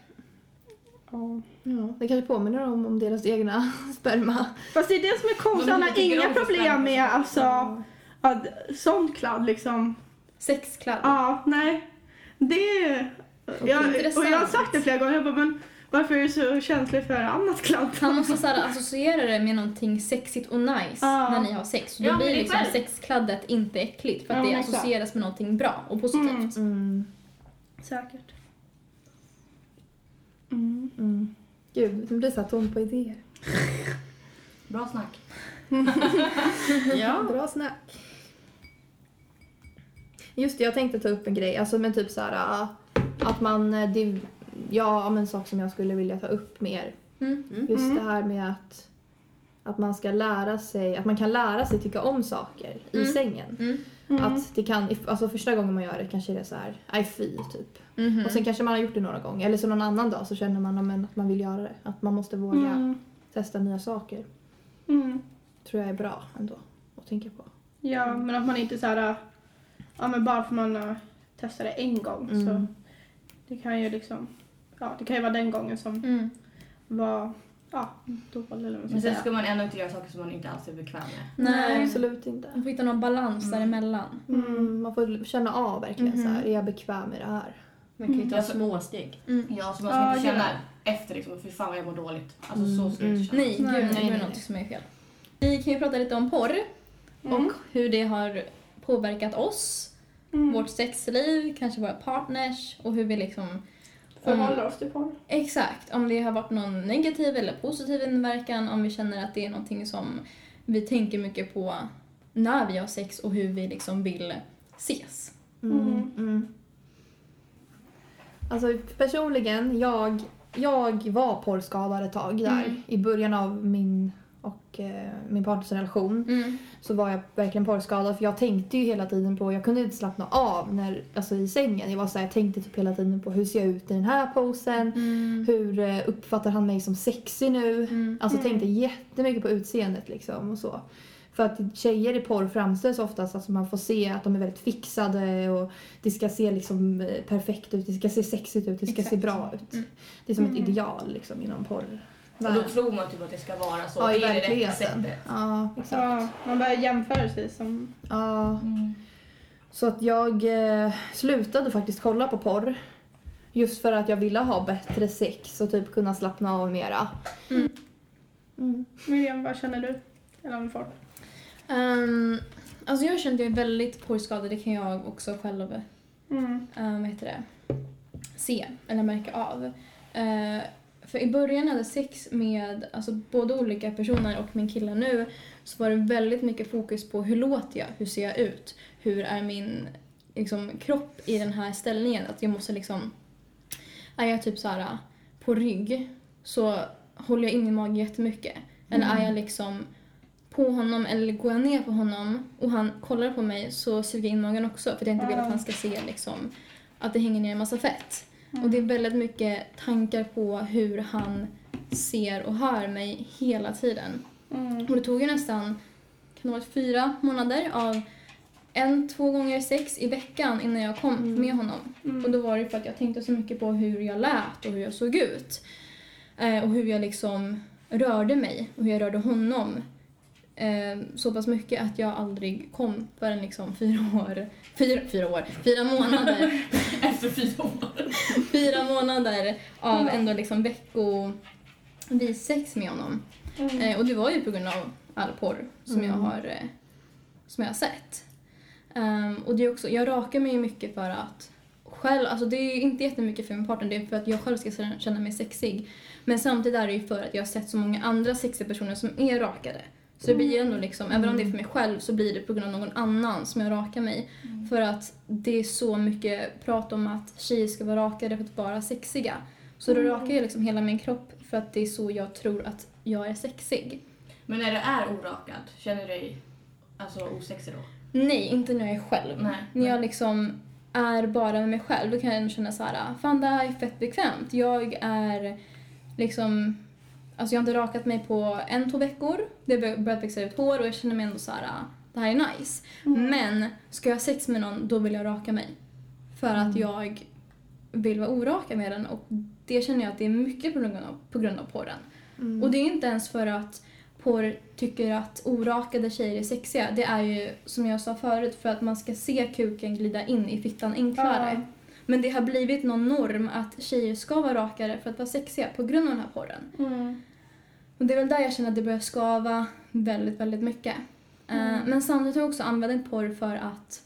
Ja.
Ja, det kanske påminner om, om deras egna sperma.
Fast det är det som är konstigt.
De
Han har
tycker
inga
om det
problem med alltså, att, sånt kladd liksom.
Sexkladd.
Ja, nej. Det är... Jag, och jag har sagt det flera gånger. Jag bara, men varför är du så känslig för annat kladd?
Han måste så här associera det med någonting sexigt och nice
Ja.
när ni har sex. Så då
Ja, men
blir
det är
liksom
själv.
sexkladdet inte äckligt för att
Ja,
det
men exakt.
associeras med någonting bra och positivt.
Mm.
Mm.
Säkert.
Mm. Gud, nu blir jag så här tom på idéer.
Bra snack.
Ja.
Bra snack. Just det, jag tänkte ta upp en grej. Alltså men typ så här äh, att man äh, det, ja, men en sak som jag skulle vilja ta upp mer.
Mm.
Just
Mm.
det här med att att man ska lära sig, att man kan lära sig tycka om saker i
Mm.
sängen.
Mm.
Mm.
Att det kan, if- alltså första gången man gör det kanske det är så här, aj fy typ.
Mhm.
Och sen kanske man har gjort det några gånger eller så någon annan dag så känner man ja, men, att man vill göra det. Att man måste våga
Mm.
testa nya saker.
Mm.
Tror jag är bra ändå att tänka på.
Ja, men att man inte så här... äh, Ja, men bara för man har testat det en gång så
Mm.
det kan ju liksom... Ja, det kan ju vara den gången som
Mm.
var ja, dålig eller vad man
Men
ska
sen
säga.
ska man ändå inte göra saker som man inte alls är bekväm med.
Nej.
absolut inte.
Man får hitta någon balans däremellan.
Mm, man får känna av verkligen så här, är jag bekväm i det här?
Man kan ju ta
Mm.
små steg.
Ja, så man ska inte
Ja, det
känna
är
efter liksom, fy fan vad jag mår dåligt. Alltså så ska jag inte känna.
Nej, gud,
Nej,
nej,
nej,
det är
nej.
något som är fel. Vi kan ju prata lite om porr
Mm.
och hur det har
Mm.
påverkat oss, vårt sexliv, kanske våra partners och hur vi liksom
förhåller oss till porr.
Exakt, om det har varit någon negativ eller positiv inverkan, om vi känner att det är någonting som vi tänker mycket på när vi har sex och hur vi liksom vill ses.
Mm. Mm. Alltså personligen, jag, jag var porrskadad ett tag där.
Mm.
I början av min och eh, min partners relation
Mm.
så var jag verkligen porrskadad för jag tänkte ju hela tiden på, jag kunde inte slappna av när, alltså i sängen. Jag var så här, jag tänkte typ hela tiden på hur ser jag ut i den här
Mm.
posen? Hur eh, uppfattar han mig som sexig nu?
Mm.
Alltså tänkte jättemycket på utseendet liksom och så. För att tjejer i porr framställs oftast, alltså man får se att de är väldigt fixade och det ska se liksom eh, perfekt ut, det ska se sexigt ut, det ska se
Exakt.
bra ut. Det är som ett ideal liksom inom porr.
Och då tror man typ att det ska vara så.
Ja, i
det är det rätta
verkligheten.
sättet.
Ja, exakt.
Ja, man börjar jämföra sig som...
Ja. Så att jag eh, slutade faktiskt kolla på porr. Just för att jag ville ha bättre sex och typ kunna slappna av mera.
Miriam, vad känner du? Eller om porr?
Um, alltså jag kände mig väldigt porrskadad, det kan jag också själv
Mm.
eh, vad heter det, se eller märka av. Eh, för i början när jag hade sex med alltså, både olika personer och min kille nu så var det väldigt mycket fokus på hur låter jag, hur ser jag ut, hur är min liksom, kropp i den här ställningen. Att jag måste liksom, är jag typ så här på rygg så håller jag in min mage jättemycket. Eller är jag liksom på honom eller går jag ner på honom och han kollar på mig så suger jag in magen också för att jag inte vill att han ska se liksom, att det hänger ner en massa fett. Och det är väldigt mycket tankar på hur han ser och hör mig hela tiden.
Mm.
Och det tog ju nästan, kan det ha varit fyra månader av en, två gånger sex i veckan innan jag kom med honom. Och då var det för att jag tänkte så mycket på hur jag lät och hur jag såg ut. Eh, och hur jag liksom rörde mig och hur jag rörde honom eh, så pass mycket att jag aldrig kom förrän liksom fyra år, fyra, fyra år, fyra månader,
Efter fyra år.
fyra månader av ändå liksom veckovis sex med honom.
Mm.
Eh, och det var ju på grund av all porr som jag har eh, som jag har sett. Ehm, och det är också, jag rakar mig ju mycket för att själv, alltså det är ju inte jättemycket för min partner, det är för att jag själv ska känna- känna mig sexig. Men samtidigt är det ju för att jag har sett så många andra sexiga personer som är rakade. Så det blir ju ändå liksom, även om det är för mig själv så blir det på grund av någon annan som jag rakar mig. För att det är så mycket prat om att tjejer ska vara rakade för att vara sexiga. Så
Mm.
då rakar jag liksom hela min kropp för att det är så jag tror att jag är sexig.
Men när du är orakad, känner du dig alltså, osexig då?
Nej, inte när jag är själv.
Nej.
När jag liksom är bara med mig själv, då kan jag känna så här, fan det här är fett bekvämt. Jag är liksom, alltså jag har inte rakat mig på en, två veckor. Det har bör- börjat växa ut hår och jag känner mig ändå så här, det här är nice.
Mm.
Mm.
Men ska jag ha sex med någon, då vill jag raka mig. För att jag vill vara orakad med den och det känner jag att det är mycket på grund av, på grund av porren.
Mm.
Mm.
Och det är inte ens för att porr tycker att orakade tjejer är sexiga. Det är ju, som jag sa förut, för att man ska se kuken glida in i fittan enklare.
Ja.
Men det har blivit någon norm att tjejer ska vara rakare för att vara sexiga på grund av den här porren.
Mm.
Och det är väl där jag känner att det börjar skava väldigt, väldigt mycket. Eh,
Mm.
Men samtidigt har jag också använt porr för att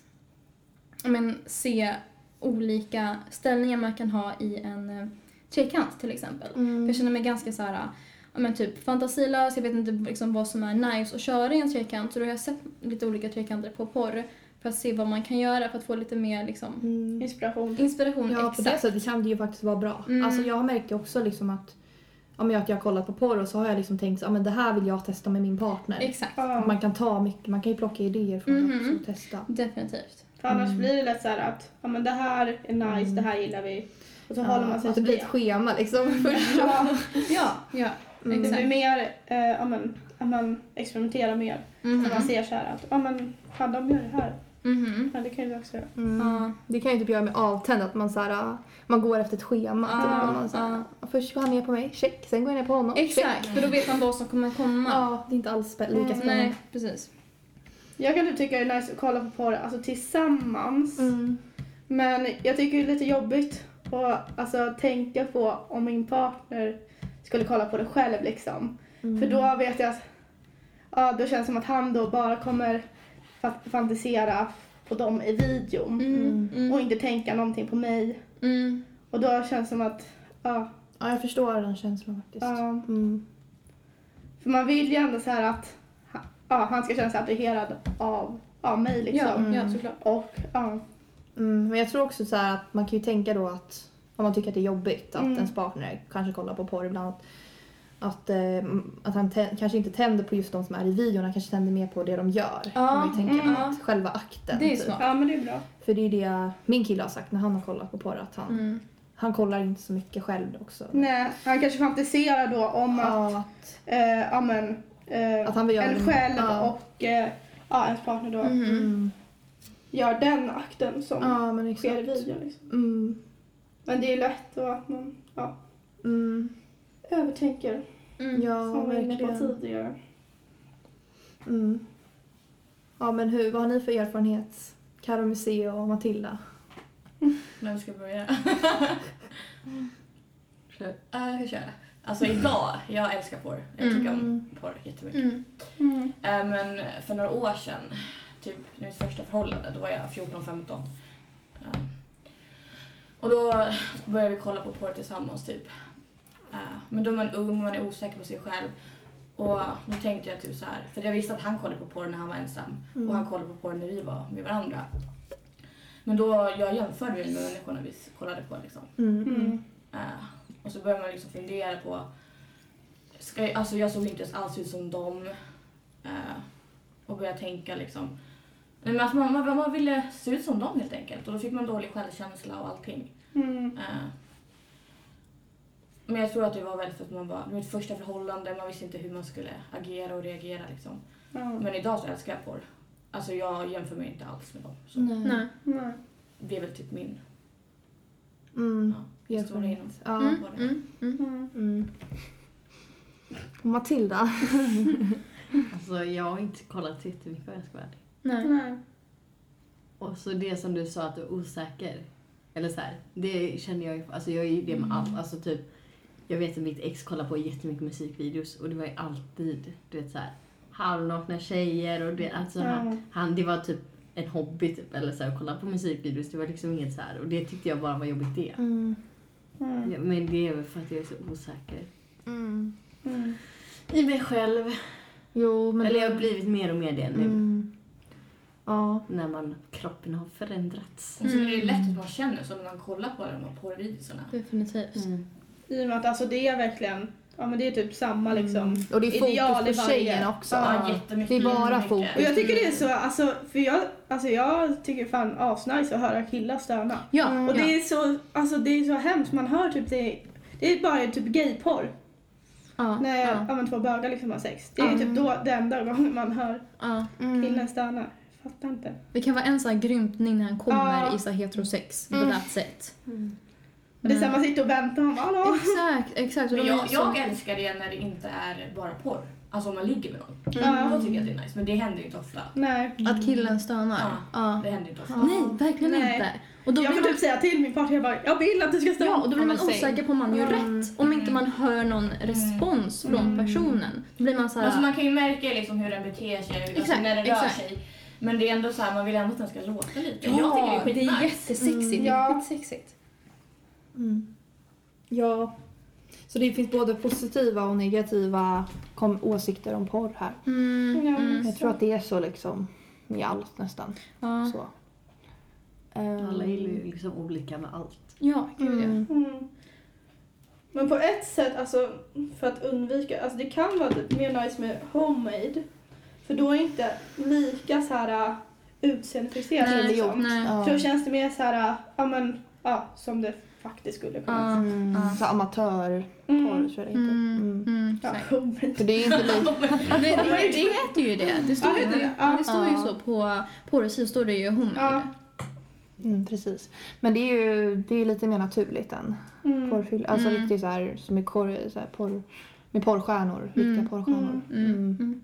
ja, men, se olika ställningar man kan ha i en eh, trekant till exempel.
Mm.
För Jag känner mig ganska så här, ja, men typ fantasilös, jag vet inte liksom, vad som är nice att köra i en trekant. Så då har jag sett lite olika trekanter på porr för att se vad man kan göra för att få lite mer liksom,
Mm. Inspiration.
inspiration.
Ja, på det sättet kan det ju faktiskt vara bra.
Mm.
Alltså jag har märkt ju också liksom att om jag, att jag har kollat på porr och så har jag liksom tänkt att det här vill jag testa med min partner.
Exakt,
Och Man kan ta mycket, man kan ju plocka idéer från
Mhm.
det också och testa.
definitivt.
För annars
mm.
blir det lätt så här att ja, men det här är nice, det här gillar vi. Och så håller man sig
att Mm. alltså, det
till
blir ett schema liksom.
Ja,
ja. Mm.
Ja,
det
exakt. Mm.
blir mer eh, ja, men, att man experimenterar mer.
Mhm.
När man ser så här att ja, men, fan, de gör det här.
Mhm.
Mm.
Ja, det kan ju vi också göra.
Ja.
Det kan ju typ göra mig avtänd att man, så här, ah, man går efter ett schema.
Ja,
typ, att man, så här, ah, Först går han ner på mig, check. Sen går jag ner på honom, check.
Exakt, för då vet man vad som kommer komma. Alltså,
Ja, det är inte alls spä- lika spännande.
Nej, precis.
Jag kan typ tycka det är nice att kolla på porr alltså, tillsammans.
Mm.
Men jag tycker det är lite jobbigt att alltså, tänka på om min partner skulle kolla på det själv. Liksom. För då vet jag att ja, då känns det som att han då bara kommer fa- fantisera på dem i videon
Mm, mm,
och inte tänka någonting på mig.
mm.
Och då känns det som att, ja.
Ja, jag förstår den känslan faktiskt.
ja.
Mm.
För man vill ju ändå så här att ja, han ska känna sig attraherad av, av mig liksom.
Ja, ja,
Mm.
såklart.
Och, ja.
Mm, men jag tror också så här att man kan ju tänka då att om man tycker att det är jobbigt att
Mm.
ens partner kanske kollar på porr ibland. Att, att, eh, att han tä- kanske inte tänder på just de som är i videon, han kanske tänder mer på det de gör.
Ja,
Kan man ju tänka
mm.
att själva akten.
Det är
typ.
smart. Ja, men det är bra.
För det är det min kille har sagt när han har kollat på porr att han,
Mm.
han kollar inte så mycket själv också.
Nej, han kanske fantiserar då om att, eh, ja men, eh,
Att han vill göra
en
det.
själv
Ja. Mm.
och eh, ja, ens partner då gör den akten som
Ja, men exakt.
sker i videon. Liksom.
Mm.
Men det är lätt då att man ja,
Mm.
övertänker.
Mm.
Ja,
Mm. som vi var inne på
verkligen.
tidigare.
Mm. Ja, men hur, vad har ni för erfarenhet? Karo Museo och Matilda?
Vem ska börja? Kör. Eh, Jag kan köra. Alltså idag, jag älskar porr. Jag tycker om porr jättemycket.
Mm.
Eh, Men för några år sedan, typ i mitt första förhållande, då var jag 14-15. Eh, Och då började vi kolla på porr tillsammans typ. Eh, Men då är man ung, man är osäker på sig själv. Och då tänkte jag typ så här, för jag visste att han kollade på porr när han var ensam.
Mm.
Och han kollade på porr när vi var med varandra. Men då, jag jämförde mig med människorna vi kollade på liksom.
Mm.
Eh, och så börjar man liksom fundera på... Ska jag, alltså jag såg inte ens alls ut som dem. Eh, och började tänka liksom... Nej, men att man, man, man ville se ut som dem helt enkelt. Och då fick man dålig självkänsla och allting.
Mm.
Eh, men jag tror att det var väldigt för att man var... Mitt första förhållande, man visste inte hur man skulle agera och reagera liksom.
Ja.
Men idag så älskar jag porr. Alltså jag jämför mig inte alls med dem. Så
Nej.
Nej.
det är väl typ min
Mm.
historia inom
Ja.
mm.
Mm.
Mm. Och Matilda?
Alltså jag har inte kollat så jättemycket om jag ska vara ärlig.
Nej.
Och så det som du sa att du är osäker. Eller så här, det känner jag ju, alltså jag är ju det med allt. Alltså typ, jag vet att mitt ex kollar på jättemycket musikvideos och det var ju alltid, du vet så här, halvnakna tjejer och det, alltså
Ja.
han, han, det var typ en hobby typ, eller så här, att kolla på musikvideos. Det var liksom inget så här och det tyckte jag bara var jobbigt det.
Mm.
Ja, Men det är väl för att jag är så osäker.
Mm.
I mig själv.
Jo, men
Eller jag har
det-
blivit mer och mer det nu.
Mm. Ja.
När man, kroppen har förändrats.
Och så är det ju lätt att man känner så när man kollar på de här porrvideorna.
Definitivt.
Mm.
I och med att alltså, det är verkligen, ja men det är typ samma
Mm.
liksom
Och det är fokus
ideal i
på
varje-
tjejen också.
Ja.
Det är bara fokus.
Och jag tycker det är så,
Mm.
alltså, för jag, alltså, jag tycker fan asnice att höra killar stöna.
Ja,
och det
ja.
är så, alltså det är så hemskt, man hör typ det, det är bara typ gayporr.
Ja,
När
ja.
ja, men två bögar liksom har sex. Det är
Ja. Mm.
ju typ då den enda gången man hör
Ja.
killen stöna. Fattar inte.
Det kan vara en sån här grymtning när han kommer Mm.
Ja.
i så här heterosex.
Mm.
På that set. Mm.
Och Det är så här, man sitter och väntar, man bara hallå.
Exakt, exakt.
Men
Och liksom de är
jag,
så-
jag älskar det när det inte är bara porr. Alltså om man ligger med någon.
Mm.
Då tycker jag att det är nice. Men det händer ju inte ofta.
Nej.
Att killen stönar.
Ja,
Ja.
Det händer inte ofta.
Nej, verkligen
Nej.
inte. Och då
jag
blir
får
man-
typ säga till min partner, jag bara, jag vill att du ska stöna.
Ja, och då blir man
säg.
osäker på om man gör rätt. Om inte man hör någon respons från personen. Då blir man så här...
Alltså man kan ju märka liksom hur den beter sig, alltså
Exakt,
när den
exakt.
rör sig. Men det är ändå så här, man vill ändå att den ska låta lite.
Ja,
jag tycker det är
det är
skitnice.
jättesexigt.
Mm.
Det är
Ja.
skitsexigt.
Mm. Ja. Så det finns både positiva och negativa kom- åsikter om porr här.
Mm, Ja, mm.
Jag tror att det är så liksom i allt nästan.
Ja.
Så.
Alla gillar ju liksom olika med allt.
Ja, gud ja.
Mm. Men på ett sätt, alltså, för att undvika, alltså det kan vara mer nice med homemade. För då är inte lika så här äh, utseendefixerat.
Nej,
liksom.
nej.
För då känns det mer så här, äh, ja men, ja, som det faktiskt skulle kunna vara.
Mm. Så amatörporr
Mm.
tror jag det heter. Mm.
Ja, homemade.
För det är inte lika...
Ja, det, det, det heter ju det. Det står ju,
Ja, det-
det,
ja.
står ju så på porrsidan. står det ju homo. Ja.
Mm, precis. Men det är ju det är lite mer naturligt än
Mm.
porrfylla. Alltså
Mm.
riktigt så här, som är korr, så här porr, med porrstjärnor. Riktiga porrstjärnor. Mm.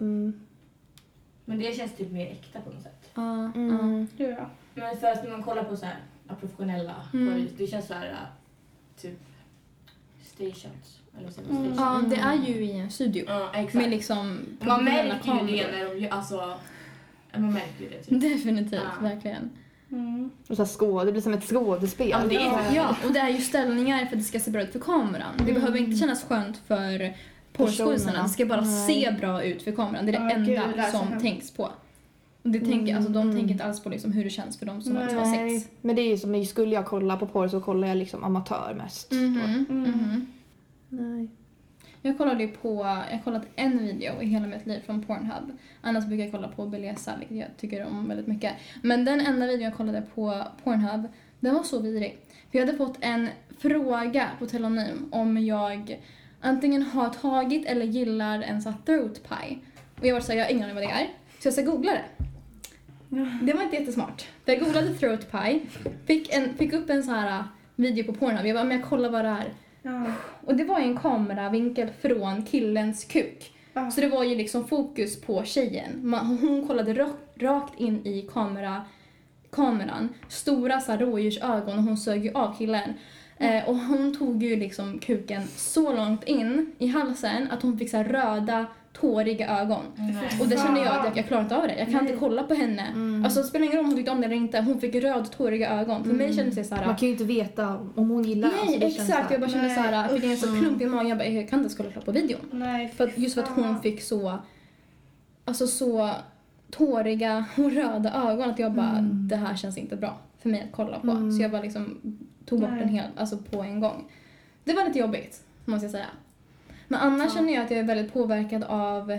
Mm.
Men det känns typ mer äkta på något sätt.
Ja,
Mm.
Du ja.
Men för att när man kollar på så här, ja, professionella
Mm.
porr, det känns så här äh, typ stations. Eller så,
Mm. Ja, det är ju i en studio.
Ja, exakt.
Med liksom
Man märker ju
kameror.
det när de gör, alltså, man märker ju det typ.
Definitivt,
Ja.
verkligen.
Mm.
Och så här skå, det blir som ett skådespel.
Ja, det är, ja, och det är ju ställningar för att det ska se bra ut för kameran. Det
Eh, Mm.
behöver inte kännas skönt för porrskådisarna. Det ska bara
Nej.
se bra ut för kameran. Det är det
Ja,
enda
gud, det där är så
som
hemskt.
tänks på. Och Det tänker, alltså, de tänker inte alls på liksom hur det känns för dem som har liksom
Nej,
sex.
Men det är ju som, skulle jag kolla på porr så kollar jag liksom amatör mest. Mm.
Mhm, mhm.
Nej.
Jag kollade ju på, jag har kollat en video i hela mitt liv från Pornhub. Annars brukar jag kolla på Beleza, vilket jag tycker om väldigt mycket. Men den enda videon jag kollade på Pornhub, den var så vidrig. För jag hade fått en fråga på telonym om jag antingen har tagit eller gillar en sån här throat pie. Och jag var såhär, jag har ingen aning vad det är. Så jag ska googla det. Det var inte jättesmart. För jag googlade throat pie, fick, en, fick upp en så här äh, video på Pornhub. Jag bara, men jag kollar vad det är. Och det var ju en kameravinkel från killens kuk. Så det var ju liksom fokus på tjejen. Man, hon kollade ra- rakt in i kamera, kameran. Stora så här, rådjursögon och hon sög ju av killen.
Mm.
Eh, och hon tog ju liksom kuken så långt in i halsen att hon fick så här, röda tåriga ögon.
Nej.
Och det kände jag att jag, jag klarar inte av det. Jag kan inte kolla på henne.
Mm.
Mm.
Alltså det spelar ingen roll om hon tyckte om det eller inte. Hon fick röd tåriga ögon. För mig kändes det så här.
Mm. Man kan ju inte veta om hon gillar
Nej,
alltså, det känns
exakt. Jag bara kände
Nej,
så här, jag fick en
usch.
så klump i magen. Jag bara, jag kan inte ens kolla klart på videon. för att, just för att hon fick så, alltså så tåriga och röda ögon att jag bara,
Mm.
det här känns inte bra för mig att kolla på. Så jag bara liksom tog bort
Nej.
den helt, alltså på en gång. Det var lite jobbigt, måste jag säga. Men annars känner jag att jag är väldigt påverkad av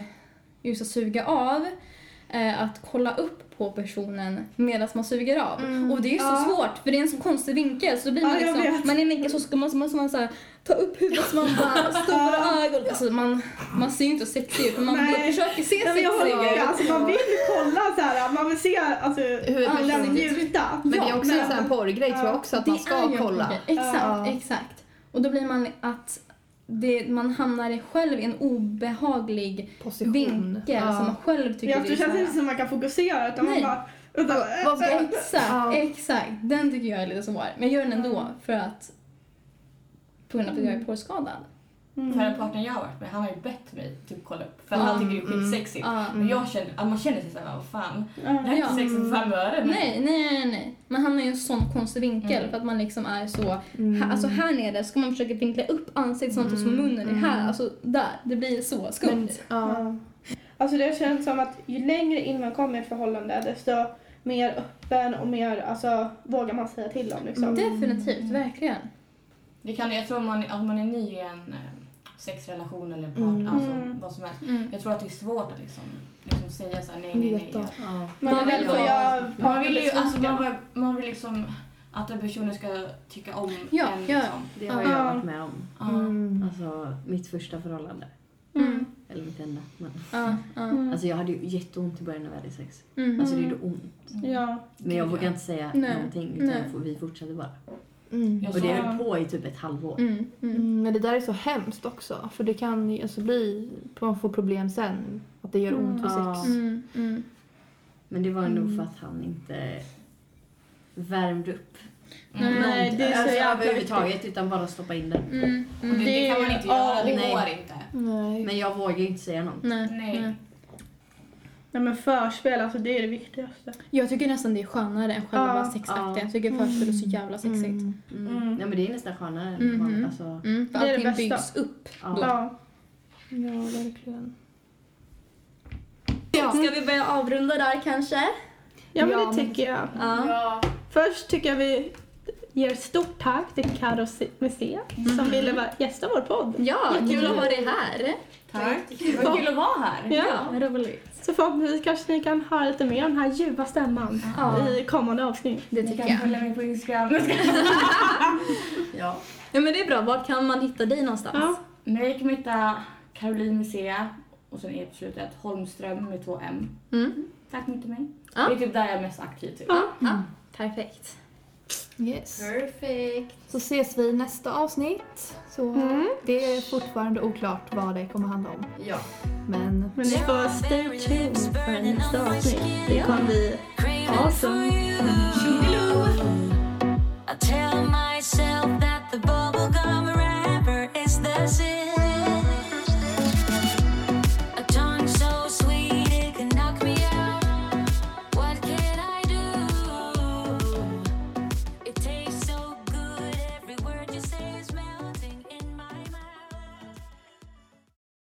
just att suga av. Eh, att kolla upp på personen medan man suger av. Och det är ju så
Mm. Ja.
svårt för det är en så konstig vinkel så då blir man
Ja, jag
liksom,
vet.
man är i vinkel så ska man, så måste man så här, ta upp huvudet så man bara, stora ögon. Alltså man, man ser ju inte så sexig ut men man
Nej.
försöker se
Nej, men
sexig
jag håller med.
ut.
Alltså, man vill kolla så här, man vill se alltså,
Ja,
hur
precis.
den njuta.
Men det är också en sån här
porrgrej
Ja. Det är ju en porrgrej. Exakt, exakt. Och då blir man att det, man hamnar själv i en obehaglig vinkel
Ja.
som man själv tycker
Ja, för det
så
känns
här-
inte som man kan fokusera utan
Nej.
man bara... Vänta,
Vad ska-
äh, äh,
Exakt,
äh.
exakt. Den tycker jag är lite svår. Men jag gör den ändå för att på grund av att jag är
Mm.
porrskadad.
För den partner jag har varit med, han har ju bett mig typ kolla upp. För han
Mm.
tycker det är skitsexigt.
Mm.
Men jag känner, ja, man känner sig såhär, vad fan. Det här är
Ja.
inte sexigt för fem öre. men-
Nej, nej, nej, nej. Man hamnar i en sån konstig vinkel
Mm.
för att man liksom är så...
Mm.
Ha, alltså
Mm.
här nere ska man försöka vinkla upp ansiktet sånt och så munnen är här. Alltså där. Det blir så skumt.
Ja. Alltså det känns som att ju längre in man kommer i ett förhållande desto mer öppen och mer alltså, vågar man säga till om.
Mm.
Liksom.
Definitivt, verkligen.
Det kan, jag tror om man, om man är ny i en eh, sexrelation eller en partner,
Mm.
alltså
Mm.
vad som helst.
Mm.
Jag tror att det är svårt att liksom, liksom säga såhär nej, nej, nej.
Veta.
Ja.
Man är rädd för att göra
man vill ju,
partner
alltså, man, vill- man vill liksom att den personen ska tycka om
Ja,
en.
ja.
Liksom. Mm.
Det har jag varit med om.
Mm.
Alltså mitt första förhållande.
Mm.
Eller mitt enda. Men...
Ja, ja. Mm.
Alltså jag hade ju jätteont i början av vi hade sex.
Mm.
Alltså det gjorde ont.
Ja.
Men jag vågade inte säga
Nej.
någonting
Mm.
utan
Nej.
jag får- vi fortsatte bara.
Mm.
Alltså-
Och det höll på i typ ett halvår.
Mm,
Mm, Men det där är så hemskt också. För det kan ju alltså bli, man får problem sen. Att det gör ont vid
Ja.
sex.
Mm, mm.
Men det var nog
Mm.
för att han inte värmde upp.
Nej,
Men-
det är så
alltså,
jävla
överhuvudtaget
viktigt.
utan bara stoppa in den.
Mm,
Och
mm. Det är ju A och O. Mm.
Nej.
Men jag vågar ju inte säga något.
Nej.
Nej.
Nej men förspel, alltså det är det viktigaste.
Jag tycker nästan det är skönare än själva
Ja.
sexakten. Jag tycker förspel är så jävla sexigt. Mm.
Mm. Nej men det är nästan skönare. än
Mhm.
vanligt, Alltså,
För
Det är det
allting
bästa.
byggs upp
Ja.
då.
Ja.
Ja, verkligen.
Ska vi börja avrunda där kanske?
Ja men
Ja,
det
men-
tycker jag.
Ja.
Först tycker jag vi ger ett stort tack till Karo C- Musea som ville vara gästa vår podd.
Mhm. Ja,
Jättekul.
kul att ha dig här.
Tack. Vad kul att vara här.
Ja.
roligt.
Så förhoppningsvis kanske ni kan höra lite mer om den här ljuva stämman
Ja.
i kommande avsnitt.
Det tycker jag.
Följ mig på Instagram. ja.
Ja, men det är bra. Var kan man hitta dig någonstans?
Mig kan man hitta Caroline Musea och sen är på slutet Holmström med två M.
Mm.
Tack mycket till mig.
Ja.
Det är typ där jag är mest aktiv typ.
Perfekt.
Yes.
Perfekt.
Så ses vi i nästa avsnitt. Så
Mm.
Det är fortfarande oklart vad det kommer handla om.
Ja.
Men...
Men ni får stay tuned för nästa avsnitt. Det kommer bli awesome.
I tell